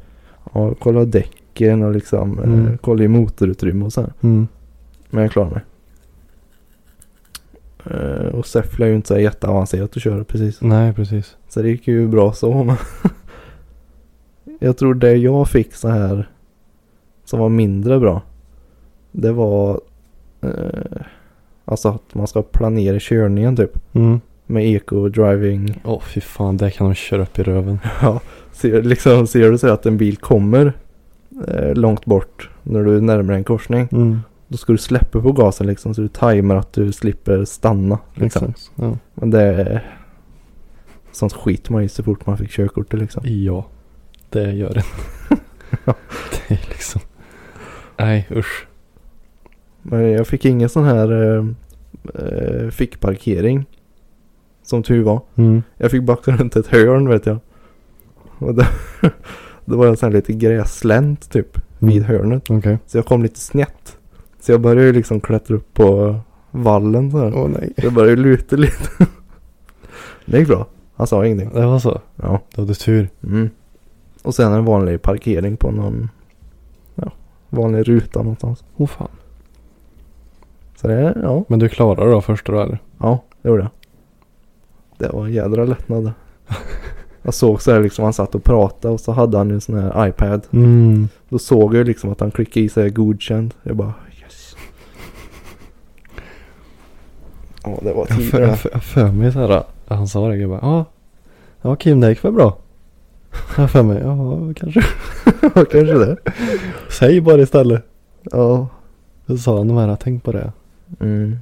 [SPEAKER 2] Ja, kolla däcken och liksom. Eh,
[SPEAKER 1] Mm.
[SPEAKER 2] kolla i motorutrymme och så här.
[SPEAKER 1] Mm.
[SPEAKER 2] Men jag klarar mig. Eh, och Säffle är ju inte så här jätteavancerat att köra precis.
[SPEAKER 1] Nej, precis.
[SPEAKER 2] Så det gick ju bra så. Men [LAUGHS] jag tror det jag fick så här. Som var mindre bra. Det var. Eh, alltså att man ska planera körningen typ.
[SPEAKER 1] Mm.
[SPEAKER 2] med eco-driving.
[SPEAKER 1] Åh fy fan, det kan de köra upp i röven.
[SPEAKER 2] Ja, ser, liksom, ser du så här att en bil kommer eh, långt bort när du närmar dig en korsning.
[SPEAKER 1] Mm.
[SPEAKER 2] Då ska du släppa på gasen liksom så du tajmar att du slipper stanna. Liksom.
[SPEAKER 1] Exakt. Ja.
[SPEAKER 2] Men det är sånt skit man i så fort man fick körkortet liksom.
[SPEAKER 1] ja, det gör [LAUGHS] den. det är liksom. Nej usch.
[SPEAKER 2] Men jag fick ingen sån här eh, eh, fickparkering. Som tur var.
[SPEAKER 1] Mm.
[SPEAKER 2] Jag fick backa runt ett hörn vet jag. Och [LAUGHS] det, det var en sån här lite gräslänt typ. Vid hörnet.
[SPEAKER 1] Okej.
[SPEAKER 2] Så jag kom lite snett. Så jag började ju liksom klättra upp på vallen så här.
[SPEAKER 1] Åh nej.
[SPEAKER 2] Jag började luta lite. [LAUGHS] Det gick bra. Han sa ingenting.
[SPEAKER 1] Det var så.
[SPEAKER 2] Ja.
[SPEAKER 1] Då hade du tur.
[SPEAKER 2] Mm. Och sen en vanlig parkering på någon ja, vanlig ruta någonstans.
[SPEAKER 1] Åh fan.
[SPEAKER 2] Så det, ja.
[SPEAKER 1] Men du klarade det då första då eller?
[SPEAKER 2] Ja, det gjorde jag. Det var en jädra lättnad. Jag såg så här liksom, han satt och pratade och så hade han ju en sån här iPad.
[SPEAKER 1] Mm.
[SPEAKER 2] Då såg jag ju liksom att han klickade i sig godkänd. Jag bara yes. Ja, det var
[SPEAKER 1] Jag för, jag
[SPEAKER 2] tidigare.
[SPEAKER 1] för, jag för mig så här. Han sa det. Jag bara. Ja. Ja Kim det gick väl bra. Jag för mig. Ja kanske.
[SPEAKER 2] Kanske det.
[SPEAKER 1] Säg bara istället.
[SPEAKER 2] Ja.
[SPEAKER 1] Så sa han de här. Tänk på det.
[SPEAKER 2] Mm.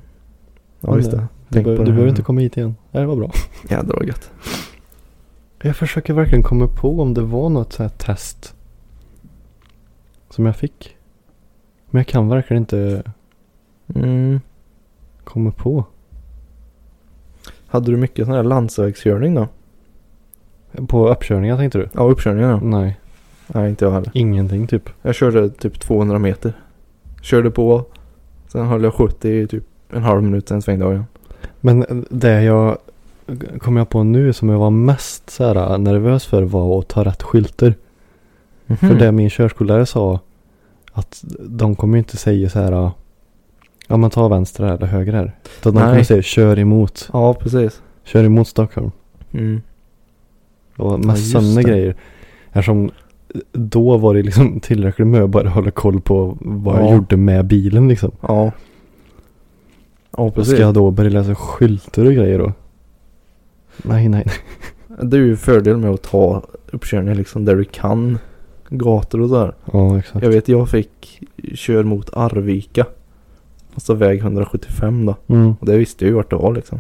[SPEAKER 2] Ja,
[SPEAKER 1] Men
[SPEAKER 2] just det.
[SPEAKER 1] Du,
[SPEAKER 2] Tänk
[SPEAKER 1] be,
[SPEAKER 2] på
[SPEAKER 1] du
[SPEAKER 2] det
[SPEAKER 1] behöver
[SPEAKER 2] här.
[SPEAKER 1] inte komma hit igen. Nej det var bra.
[SPEAKER 2] Jädra vad gött.
[SPEAKER 1] Jag försöker verkligen komma på om det var något så här test. Som jag fick. Men jag kan verkligen inte
[SPEAKER 2] Mm.
[SPEAKER 1] komma på.
[SPEAKER 2] Hade du mycket sån här landsvägskörning då?
[SPEAKER 1] På uppkörningar tänkte du?
[SPEAKER 2] Ja, uppkörningar då?
[SPEAKER 1] Nej.
[SPEAKER 2] Mm. Nej, inte jag heller.
[SPEAKER 1] Ingenting typ.
[SPEAKER 2] Jag körde typ 200 meter. Körde på. Sen höll jag 70 i typ en halv minut, sen svängde jag igen.
[SPEAKER 1] Men det jag kom jag på nu som jag var mest så här äh, nervös för var att ta rätt skyltar.
[SPEAKER 2] Mm.
[SPEAKER 1] För det min körskolelärare sa att de kommer ju inte säga så här äh, ja men ta vänster här eller höger här. Utan de
[SPEAKER 2] Nej.
[SPEAKER 1] kommer säga kör emot.
[SPEAKER 2] Ja, precis.
[SPEAKER 1] Kör emot Stockholm.
[SPEAKER 2] Mm.
[SPEAKER 1] Och
[SPEAKER 2] Ja,
[SPEAKER 1] massa
[SPEAKER 2] just
[SPEAKER 1] sådana
[SPEAKER 2] det.
[SPEAKER 1] grejer. Eftersom då var det liksom [LAUGHS] tillräckligt med att bara hålla koll på vad jag
[SPEAKER 2] Ja.
[SPEAKER 1] gjorde med bilen liksom.
[SPEAKER 2] Ja.
[SPEAKER 1] Ska
[SPEAKER 2] Ja, precis.
[SPEAKER 1] jag då börja läsa skyltar och grejer då? Nej, nej.
[SPEAKER 2] Det är ju fördel med att ta uppkörningar liksom där du kan. Gator och sådär.
[SPEAKER 1] Ja, exakt.
[SPEAKER 2] Jag vet, jag fick kör mot Arvika. Alltså väg 175 då.
[SPEAKER 1] Mm.
[SPEAKER 2] Och det visste jag ju vart det var liksom.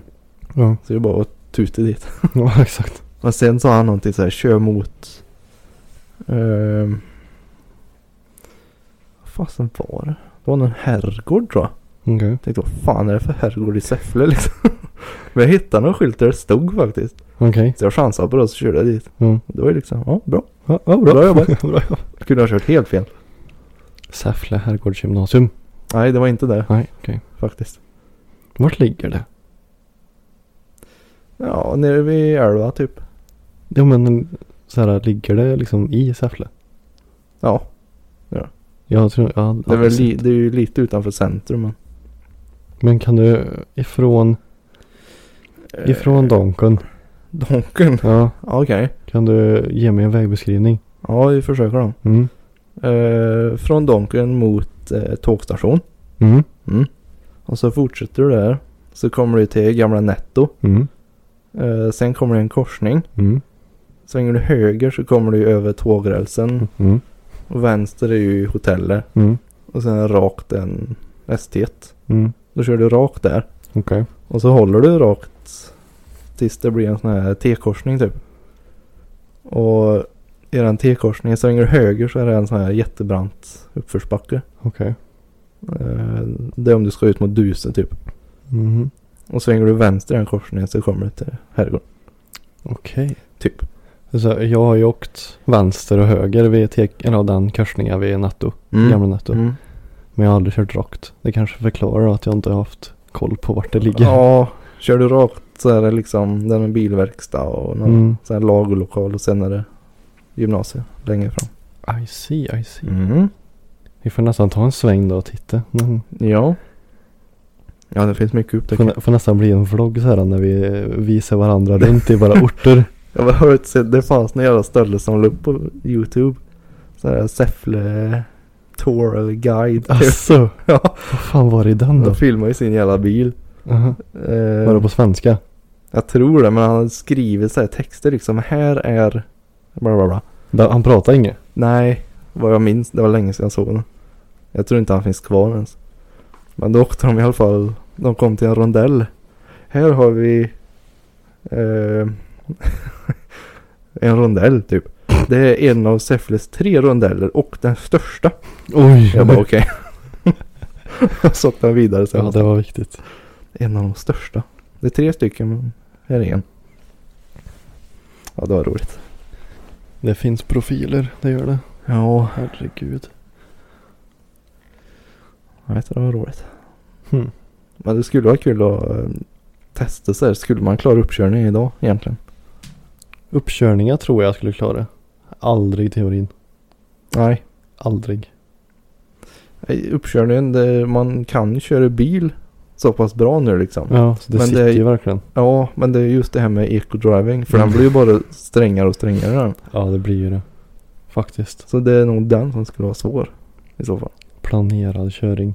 [SPEAKER 1] Ja. [LAUGHS]
[SPEAKER 2] Så jag bara tutade dit.
[SPEAKER 1] ja, exakt.
[SPEAKER 2] Men sen sa han någonting så här, kör mot... ehm, Vad fasen var det? Det var någon herrgård tror jag.
[SPEAKER 1] Okej.
[SPEAKER 2] Tänkte vad fan är det för herrgård i Säffle liksom? [LAUGHS] Men jag hittade någon skylt där det stod faktiskt.
[SPEAKER 1] Okej.
[SPEAKER 2] Så jag chansade på det och så körde jag dit.
[SPEAKER 1] Mm.
[SPEAKER 2] Det var ju liksom, ja bra.
[SPEAKER 1] Ja, ja, bra.
[SPEAKER 2] Bra
[SPEAKER 1] [LAUGHS]
[SPEAKER 2] jobbat.
[SPEAKER 1] bra jobbat.
[SPEAKER 2] Kunde ha kört helt fel.
[SPEAKER 1] Säffle herrgårdsgymnasium.
[SPEAKER 2] Nej det var inte det
[SPEAKER 1] Nej, okej.
[SPEAKER 2] faktiskt.
[SPEAKER 1] Vart ligger det?
[SPEAKER 2] Ja, nere vid älva typ.
[SPEAKER 1] Ja, men så här, ligger det liksom i Säffle?
[SPEAKER 2] Ja,
[SPEAKER 1] Jag tror, ja.
[SPEAKER 2] det är,
[SPEAKER 1] ja,
[SPEAKER 2] väl li, det är ju lite utanför centrum men.
[SPEAKER 1] Men kan du ifrån, ifrån Donken.
[SPEAKER 2] eh, Donken? [LAUGHS]
[SPEAKER 1] Ja.
[SPEAKER 2] Ja, Okej.
[SPEAKER 1] Kan du ge mig en vägbeskrivning?
[SPEAKER 2] Ja, vi försöker då.
[SPEAKER 1] Mm.
[SPEAKER 2] Eh, från Donken mot eh, tågstation.
[SPEAKER 1] Mm.
[SPEAKER 2] Mm. Och så fortsätter du där. Så kommer du till gamla Netto.
[SPEAKER 1] Mm.
[SPEAKER 2] Eh, sen kommer det en korsning.
[SPEAKER 1] Mm.
[SPEAKER 2] Svänger du höger så kommer du över tågrälsen.
[SPEAKER 1] Mm.
[SPEAKER 2] Och vänster är ju hotellet.
[SPEAKER 1] Mm.
[SPEAKER 2] Och sen rakt en ST1.
[SPEAKER 1] Mm.
[SPEAKER 2] Då kör du rakt där.
[SPEAKER 1] Okej.
[SPEAKER 2] Och så håller du rakt. Tills det blir en sån här T-korsning typ. Och i den T-korsningen svänger du höger så är det en sån här jättebrant uppförsbacke.
[SPEAKER 1] Okej.
[SPEAKER 2] Eh, det är om du ska ut mot Duse typ.
[SPEAKER 1] Mhm.
[SPEAKER 2] Och svänger du vänster i den korsningen så kommer du till herrgården.
[SPEAKER 1] Okej.
[SPEAKER 2] Typ.
[SPEAKER 1] Så jag har ju åkt vänster och höger vid te- eller den korsningen vid Netto. Gamla Netto.
[SPEAKER 2] Mm.
[SPEAKER 1] Men jag har aldrig kört rakt. Det kanske förklarar att jag inte har haft koll på vart det ligger.
[SPEAKER 2] Ja, kör du rakt så är det liksom den är en bilverkstad och någon
[SPEAKER 1] Mm.
[SPEAKER 2] sån här lagerlokal och sen är det gymnasiet längre fram.
[SPEAKER 1] I see, I see.
[SPEAKER 2] Mm.
[SPEAKER 1] Vi får nästan ta en sväng då och titta. Mm.
[SPEAKER 2] Ja. Ja, det finns mycket att
[SPEAKER 1] Får,
[SPEAKER 2] upptäcka.
[SPEAKER 1] nä- får nästan bli en vlogg så här när vi eh, visar
[SPEAKER 2] [LAUGHS]
[SPEAKER 1] varandra runt i våra orter.
[SPEAKER 2] Jag har hört så det fanns några jävla stölle som la upp på YouTube. Så här Säffle Tour eller Guide.
[SPEAKER 1] Asså,
[SPEAKER 2] [LAUGHS] ja,
[SPEAKER 1] Alltså, vad fan var det i den då?
[SPEAKER 2] de filmar ju sin jävla bil.
[SPEAKER 1] Aha.
[SPEAKER 2] Eh,
[SPEAKER 1] Var det på svenska?
[SPEAKER 2] Jag tror det, men han hade skrivit så här texter liksom. Här är... Bla, bla, bla.
[SPEAKER 1] Där- Han pratar inget?
[SPEAKER 2] Nej, vad jag minns. Det var länge sedan jag såg den. Jag tror inte han finns kvar ens. Men då åkte de i alla fall. De kom till en rondell. Här har vi eh, [LAUGHS] en rondell typ. Det är en av Säffles tre rondeller och den största.
[SPEAKER 1] Oj!
[SPEAKER 2] Jag bara [LAUGHS] okej. så åkte han vidare sen.
[SPEAKER 1] ja, det var viktigt.
[SPEAKER 2] En av de största. Det är tre stycken men här är en. Ja det var roligt.
[SPEAKER 1] Det finns profiler, det gör det.
[SPEAKER 2] Ja.
[SPEAKER 1] Herregud.
[SPEAKER 2] Jag vet, det var roligt.
[SPEAKER 1] Hmm.
[SPEAKER 2] Men det skulle vara kul att eh, testa så här. Skulle man klara uppkörningen idag egentligen?
[SPEAKER 1] Uppkörningar tror jag skulle klara. Aldrig teorin.
[SPEAKER 2] Nej.
[SPEAKER 1] Aldrig.
[SPEAKER 2] Nej, Uppkörningen, det, man kan ju köra bil så pass bra nu liksom. Ja,
[SPEAKER 1] Ja, så det
[SPEAKER 2] Men
[SPEAKER 1] sitter
[SPEAKER 2] det-
[SPEAKER 1] ju verkligen.
[SPEAKER 2] men det är just det här med eco-driving. För den blir ju bara strängare och strängare. [LAUGHS] den.
[SPEAKER 1] Ja, det blir ju det. Faktiskt.
[SPEAKER 2] Så det är nog den som skulle vara svår i så fall.
[SPEAKER 1] Planerad köring.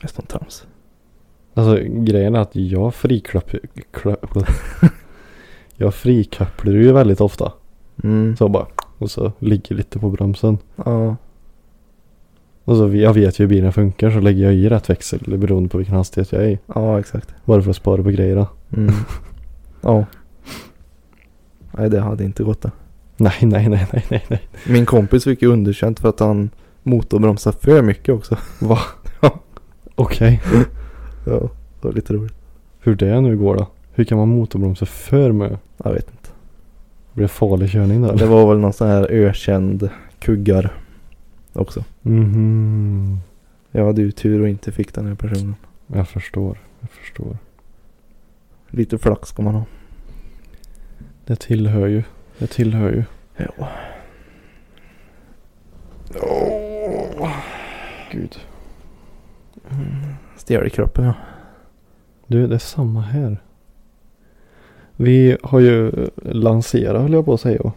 [SPEAKER 2] Det är sånt trams.
[SPEAKER 1] Alltså grejen är att jag friklapp... klapp- [LAUGHS] jag frikapplar ju väldigt ofta.
[SPEAKER 2] Mm.
[SPEAKER 1] Så bara... Och så ligger lite på bromsen.
[SPEAKER 2] Ja.
[SPEAKER 1] Och så jag vet ju hur bilen funkar så lägger jag i rätt växel beroende på vilken hastighet jag är i.
[SPEAKER 2] ja, exakt.
[SPEAKER 1] Bara för att spara på grejerna.
[SPEAKER 2] [LAUGHS] Mm. Ja. Nej, det hade inte gått det.
[SPEAKER 1] Nej, nej, nej, nej, nej, nej.
[SPEAKER 2] Min kompis fick ju underkänt för att han motorbromsade för mycket också. [LAUGHS]
[SPEAKER 1] Va? Okej.
[SPEAKER 2] Ja, det var lite roligt.
[SPEAKER 1] Hur det nu går då? Hur kan man motorbromsa för med?
[SPEAKER 2] Jag vet inte.
[SPEAKER 1] Blir det farlig körning där?
[SPEAKER 2] Det var väl någon sån här ökänd kuggar också.
[SPEAKER 1] Mhm.
[SPEAKER 2] Jag hade ju tur och inte fick den här personen.
[SPEAKER 1] Jag förstår. Jag förstår.
[SPEAKER 2] Lite flax ska man ha.
[SPEAKER 1] Det tillhör ju. Det tillhör ju.
[SPEAKER 2] Ja.
[SPEAKER 1] Gud.
[SPEAKER 2] Stel i kroppen ja.
[SPEAKER 1] Du, det är samma här. Vi har ju lanserat höll jag på att säga.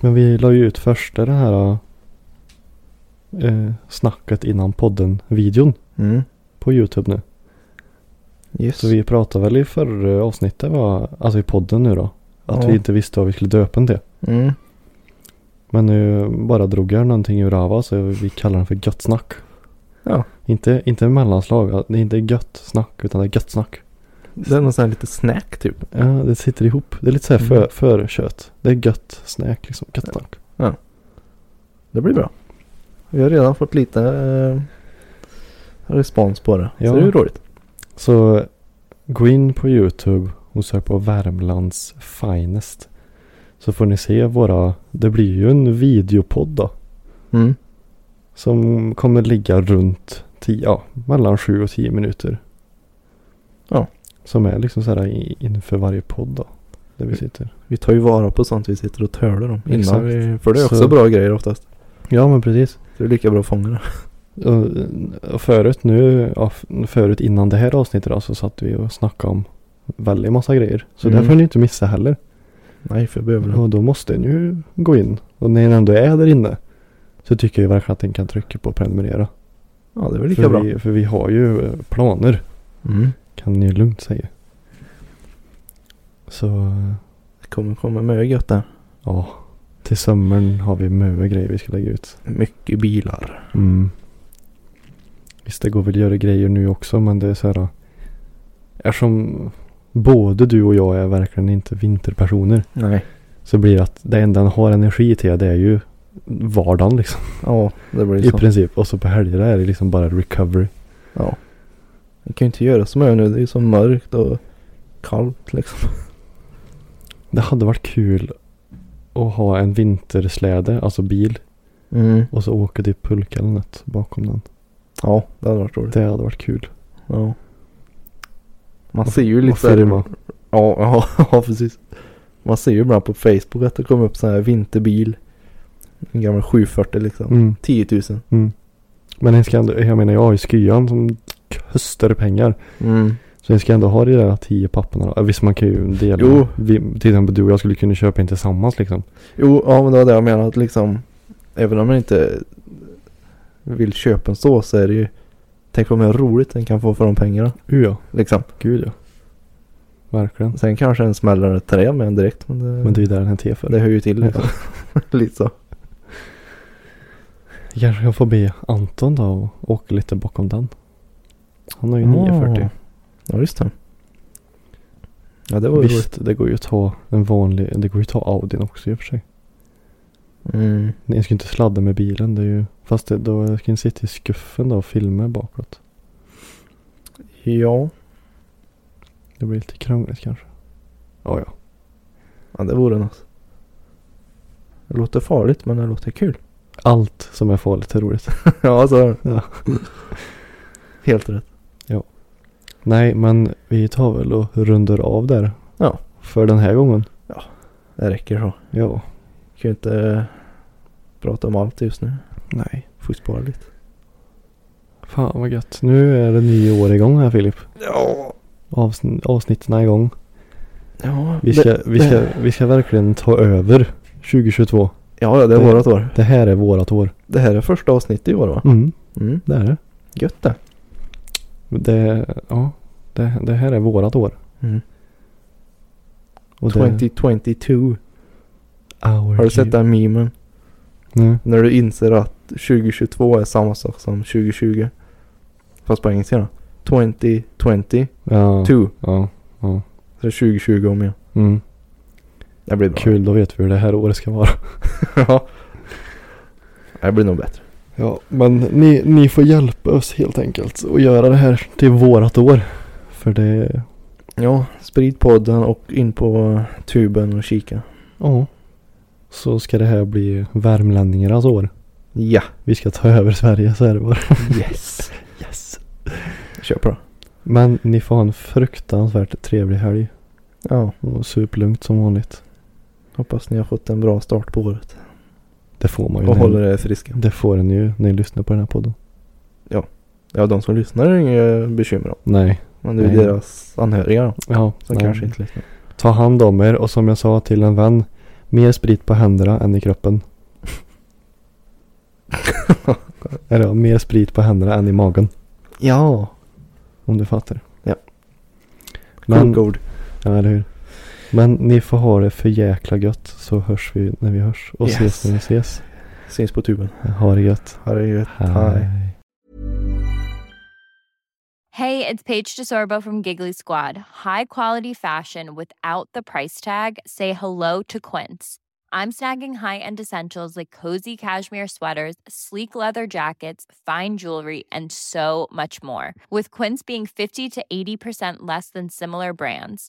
[SPEAKER 1] Men vi la ju ut första det här eh, snacket innan podden-videon
[SPEAKER 2] Mm.
[SPEAKER 1] på Youtube nu.
[SPEAKER 2] Yes.
[SPEAKER 1] Så vi pratade väl i förra avsnittet, va? alltså i podden nu då. Att
[SPEAKER 2] Ja.
[SPEAKER 1] vi inte visste vad vi skulle döpa den till.
[SPEAKER 2] Mm.
[SPEAKER 1] Men nu bara drog jag någonting ur Rava så vi kallar den för gött snack.
[SPEAKER 2] Ja.
[SPEAKER 1] Inte, inte mellanslag, det är inte gött snack utan det är gött snack.
[SPEAKER 2] Det är någon sån här lite snack typ.
[SPEAKER 1] Ja, det sitter ihop. Det är lite så här för,
[SPEAKER 2] Mm.
[SPEAKER 1] förkött. Det är gött snack liksom. Gött snack.
[SPEAKER 2] Det blir bra. Vi har redan fått lite eh, respons på det.
[SPEAKER 1] Ja.
[SPEAKER 2] Så det är ju roligt.
[SPEAKER 1] Så gå in på YouTube och sök på Värmlands finest. Så får ni se våra, det blir ju en videopodd då.
[SPEAKER 2] Mm.
[SPEAKER 1] Som kommer ligga runt 10, ja, mellan 7 och 10 minuter.
[SPEAKER 2] Ja.
[SPEAKER 1] Som är liksom så här i- inför varje podd då. Där vi
[SPEAKER 2] Mm.
[SPEAKER 1] sitter.
[SPEAKER 2] Vi tar ju vara på sånt vi sitter och tölar om innan
[SPEAKER 1] Exakt.
[SPEAKER 2] vi, För det är också
[SPEAKER 1] Så-
[SPEAKER 2] bra grejer oftast.
[SPEAKER 1] Ja men precis.
[SPEAKER 2] Så det är lika bra att fånga det.
[SPEAKER 1] Och, och förut nu, ja, f- förut innan det här avsnittet då, så satt vi och snackade om väldigt massa grejer. Så
[SPEAKER 2] Mm.
[SPEAKER 1] det får ni inte missa heller.
[SPEAKER 2] [LAUGHS] Nej, för behöver det.
[SPEAKER 1] Och då måste ni ju gå in. Och när ni ändå är där inne så tycker jag verkligen att ni kan trycka på prenumerera.
[SPEAKER 2] Ja, det är väl lika
[SPEAKER 1] för,
[SPEAKER 2] bra.
[SPEAKER 1] Vi, för vi har ju eh, planer
[SPEAKER 2] Mm.
[SPEAKER 1] kan ni ju lugnt säga. Så eh,
[SPEAKER 2] Det kommer komma mycket gött där.
[SPEAKER 1] ja, till sommaren har vi mycket grejer vi ska lägga ut.
[SPEAKER 2] Mycket bilar.
[SPEAKER 1] Mm. Visst det går väl att göra grejer nu också men det är så här. Eftersom både du och jag är verkligen inte vinterpersoner.
[SPEAKER 2] Nej.
[SPEAKER 1] Så blir det att det enda han har energi till det är ju vardagen liksom.
[SPEAKER 2] Ja, det blir
[SPEAKER 1] I
[SPEAKER 2] så.
[SPEAKER 1] princip. Och så på helgerna är det liksom bara recovery.
[SPEAKER 2] Ja. Vi kan ju inte göra som jag nu. Det är ju så mörkt och kallt liksom.
[SPEAKER 1] Det hade varit kul att ha en vintersläde, alltså bil.
[SPEAKER 2] Mm.
[SPEAKER 1] Och så åka till pulka eller något bakom den.
[SPEAKER 2] Ja, det hade varit roligt.
[SPEAKER 1] Det hade varit kul.
[SPEAKER 2] Ja. Man ser ju
[SPEAKER 1] Och
[SPEAKER 2] lite där-
[SPEAKER 1] filma.
[SPEAKER 2] Ja, [LAUGHS] ja, ja precis. Man ser ju ibland på Facebook att det kommer upp sån här vinterbil. En gammal 740 liksom.
[SPEAKER 1] Mm,
[SPEAKER 2] 10 000.
[SPEAKER 1] mm. Men jag, ska ändå, jag menar jag har ju skyan som kostar pengar.
[SPEAKER 2] Mm.
[SPEAKER 1] Så jag ska ändå ha de där tio papperna. då. Visst man kan ju dela.
[SPEAKER 2] Jo.
[SPEAKER 1] Vi, till exempel du och jag skulle kunna köpa en tillsammans liksom.
[SPEAKER 2] Jo, ja men det var det jag menade att liksom. Även om man inte vill köpa en så så är det ju. Tänk vad mer roligt den kan få för de pengarna.
[SPEAKER 1] Uh, ja.
[SPEAKER 2] Liksom.
[SPEAKER 1] Gud ja. Verkligen.
[SPEAKER 2] Sen kanske en smäller ett träd med en direkt. Men det, liksom. [LAUGHS]
[SPEAKER 1] Men det är ju där den är till för.
[SPEAKER 2] det hör ju till liksom. Lite så.
[SPEAKER 1] Jag kanske kan få be Anton då och åka lite bakom den. Han har ju
[SPEAKER 2] Ah.
[SPEAKER 1] 940.
[SPEAKER 2] Ja, just det. Ja, det var ju roligt.
[SPEAKER 1] Visst, det går ju att ta en vanlig, det går ju att ta Audin också i och för sig.
[SPEAKER 2] Mm.
[SPEAKER 1] Nej, jag ska ju inte sladda med bilen. Det är ju, fast det, då ska den sitta i skuffen då och filma bakåt.
[SPEAKER 2] Ja.
[SPEAKER 1] Det blir lite krångligt kanske. Ja, ja.
[SPEAKER 2] ja, det vore något. Det låter farligt men det låter kul. [LAUGHS]
[SPEAKER 1] Allt som är farligt är roligt.
[SPEAKER 2] ja, så är det.
[SPEAKER 1] Ja.
[SPEAKER 2] Helt rätt.
[SPEAKER 1] Nej, men vi tar väl och rundar av där.
[SPEAKER 2] Ja.
[SPEAKER 1] För den här gången.
[SPEAKER 2] Det räcker så.
[SPEAKER 1] Ja.
[SPEAKER 2] Kan ju inte eh, prata om allt just nu.
[SPEAKER 1] Nej.
[SPEAKER 2] Får ju spara lite.
[SPEAKER 1] Fan vad gött. Nu är det nio år igång här Filip.
[SPEAKER 2] Ja.
[SPEAKER 1] Avsn- avsnitten är igång.
[SPEAKER 2] Ja,
[SPEAKER 1] Vi ska, vi, ska, vi ska verkligen ta över 2022.
[SPEAKER 2] ja, ja, det är
[SPEAKER 1] Det-
[SPEAKER 2] vårat år.
[SPEAKER 1] Det här är vårat år.
[SPEAKER 2] Det här är första avsnittet i år va?
[SPEAKER 1] Mm,
[SPEAKER 2] Mm.
[SPEAKER 1] det är det.
[SPEAKER 2] Gött det.
[SPEAKER 1] Det, ja, det, det här är vårat år.
[SPEAKER 2] Mm.
[SPEAKER 1] Och det-
[SPEAKER 2] 2022.
[SPEAKER 1] Our
[SPEAKER 2] Har du sett
[SPEAKER 1] year.
[SPEAKER 2] den memen?
[SPEAKER 1] Nej.
[SPEAKER 2] När du inser att 2022 är samma sak som 2020. Fast på engelska då. 2022.
[SPEAKER 1] Ja.
[SPEAKER 2] Two.
[SPEAKER 1] Ja.
[SPEAKER 2] Så 2020 om igen.
[SPEAKER 1] Mm.
[SPEAKER 2] Det blir bra.
[SPEAKER 1] Kul, då vet vi hur det här året ska vara.
[SPEAKER 2] [LAUGHS] ja. Det blir nog bättre.
[SPEAKER 1] Ja, men ni, ni får hjälpa oss helt enkelt och göra det här till vårat år. För det,
[SPEAKER 2] Ja, sprid podden och in på tuben och kika.
[SPEAKER 1] ja. Så ska det här bli värmlänningarnas år.
[SPEAKER 2] Ja.
[SPEAKER 1] Vi ska ta [LAUGHS] över Sverige, så är det bara.
[SPEAKER 2] Yes.
[SPEAKER 1] Yes.
[SPEAKER 2] Kör på det.
[SPEAKER 1] Men ni får ha en fruktansvärt trevlig helg.
[SPEAKER 2] Ja.
[SPEAKER 1] Och sup lugnt som vanligt.
[SPEAKER 2] Hoppas ni har fått en bra start på året.
[SPEAKER 1] Det får man ju.
[SPEAKER 2] Och
[SPEAKER 1] när-
[SPEAKER 2] håller er friska.
[SPEAKER 1] Det får en ju när ni lyssnar på den här podden.
[SPEAKER 2] Ja, de som lyssnar är inga bekymmer om.
[SPEAKER 1] Nej.
[SPEAKER 2] Men det är ju
[SPEAKER 1] Nej.
[SPEAKER 2] deras anhöriga då,
[SPEAKER 1] Ja.
[SPEAKER 2] som
[SPEAKER 1] nej.
[SPEAKER 2] kanske inte lyssnar.
[SPEAKER 1] Ta hand om er och som jag sa till en vän. Mer sprit på händerna än i
[SPEAKER 2] [LAUGHS]
[SPEAKER 1] kroppen. Eller ja, mer sprit på händerna än i magen.
[SPEAKER 2] Ja.
[SPEAKER 1] Om du fattar.
[SPEAKER 2] Ja.
[SPEAKER 1] Men,
[SPEAKER 2] Kloka ord.
[SPEAKER 1] ja, eller hur. Men ni får ha det för jäkla gött så hörs vi när vi hörs. Och
[SPEAKER 2] Yes.
[SPEAKER 1] ses när vi ses.
[SPEAKER 2] Syns på tuben.
[SPEAKER 1] Ha det gött.
[SPEAKER 2] Ha det gött. Hej.
[SPEAKER 5] Hey, it's Paige DeSorbo from Giggly Squad. High quality fashion without the price tag. Say hello to Quince. I'm snagging high-end essentials like cozy cashmere sweaters, sleek leather jackets, fine jewelry, and so much more. With Quince being 50 to 80% less than similar brands.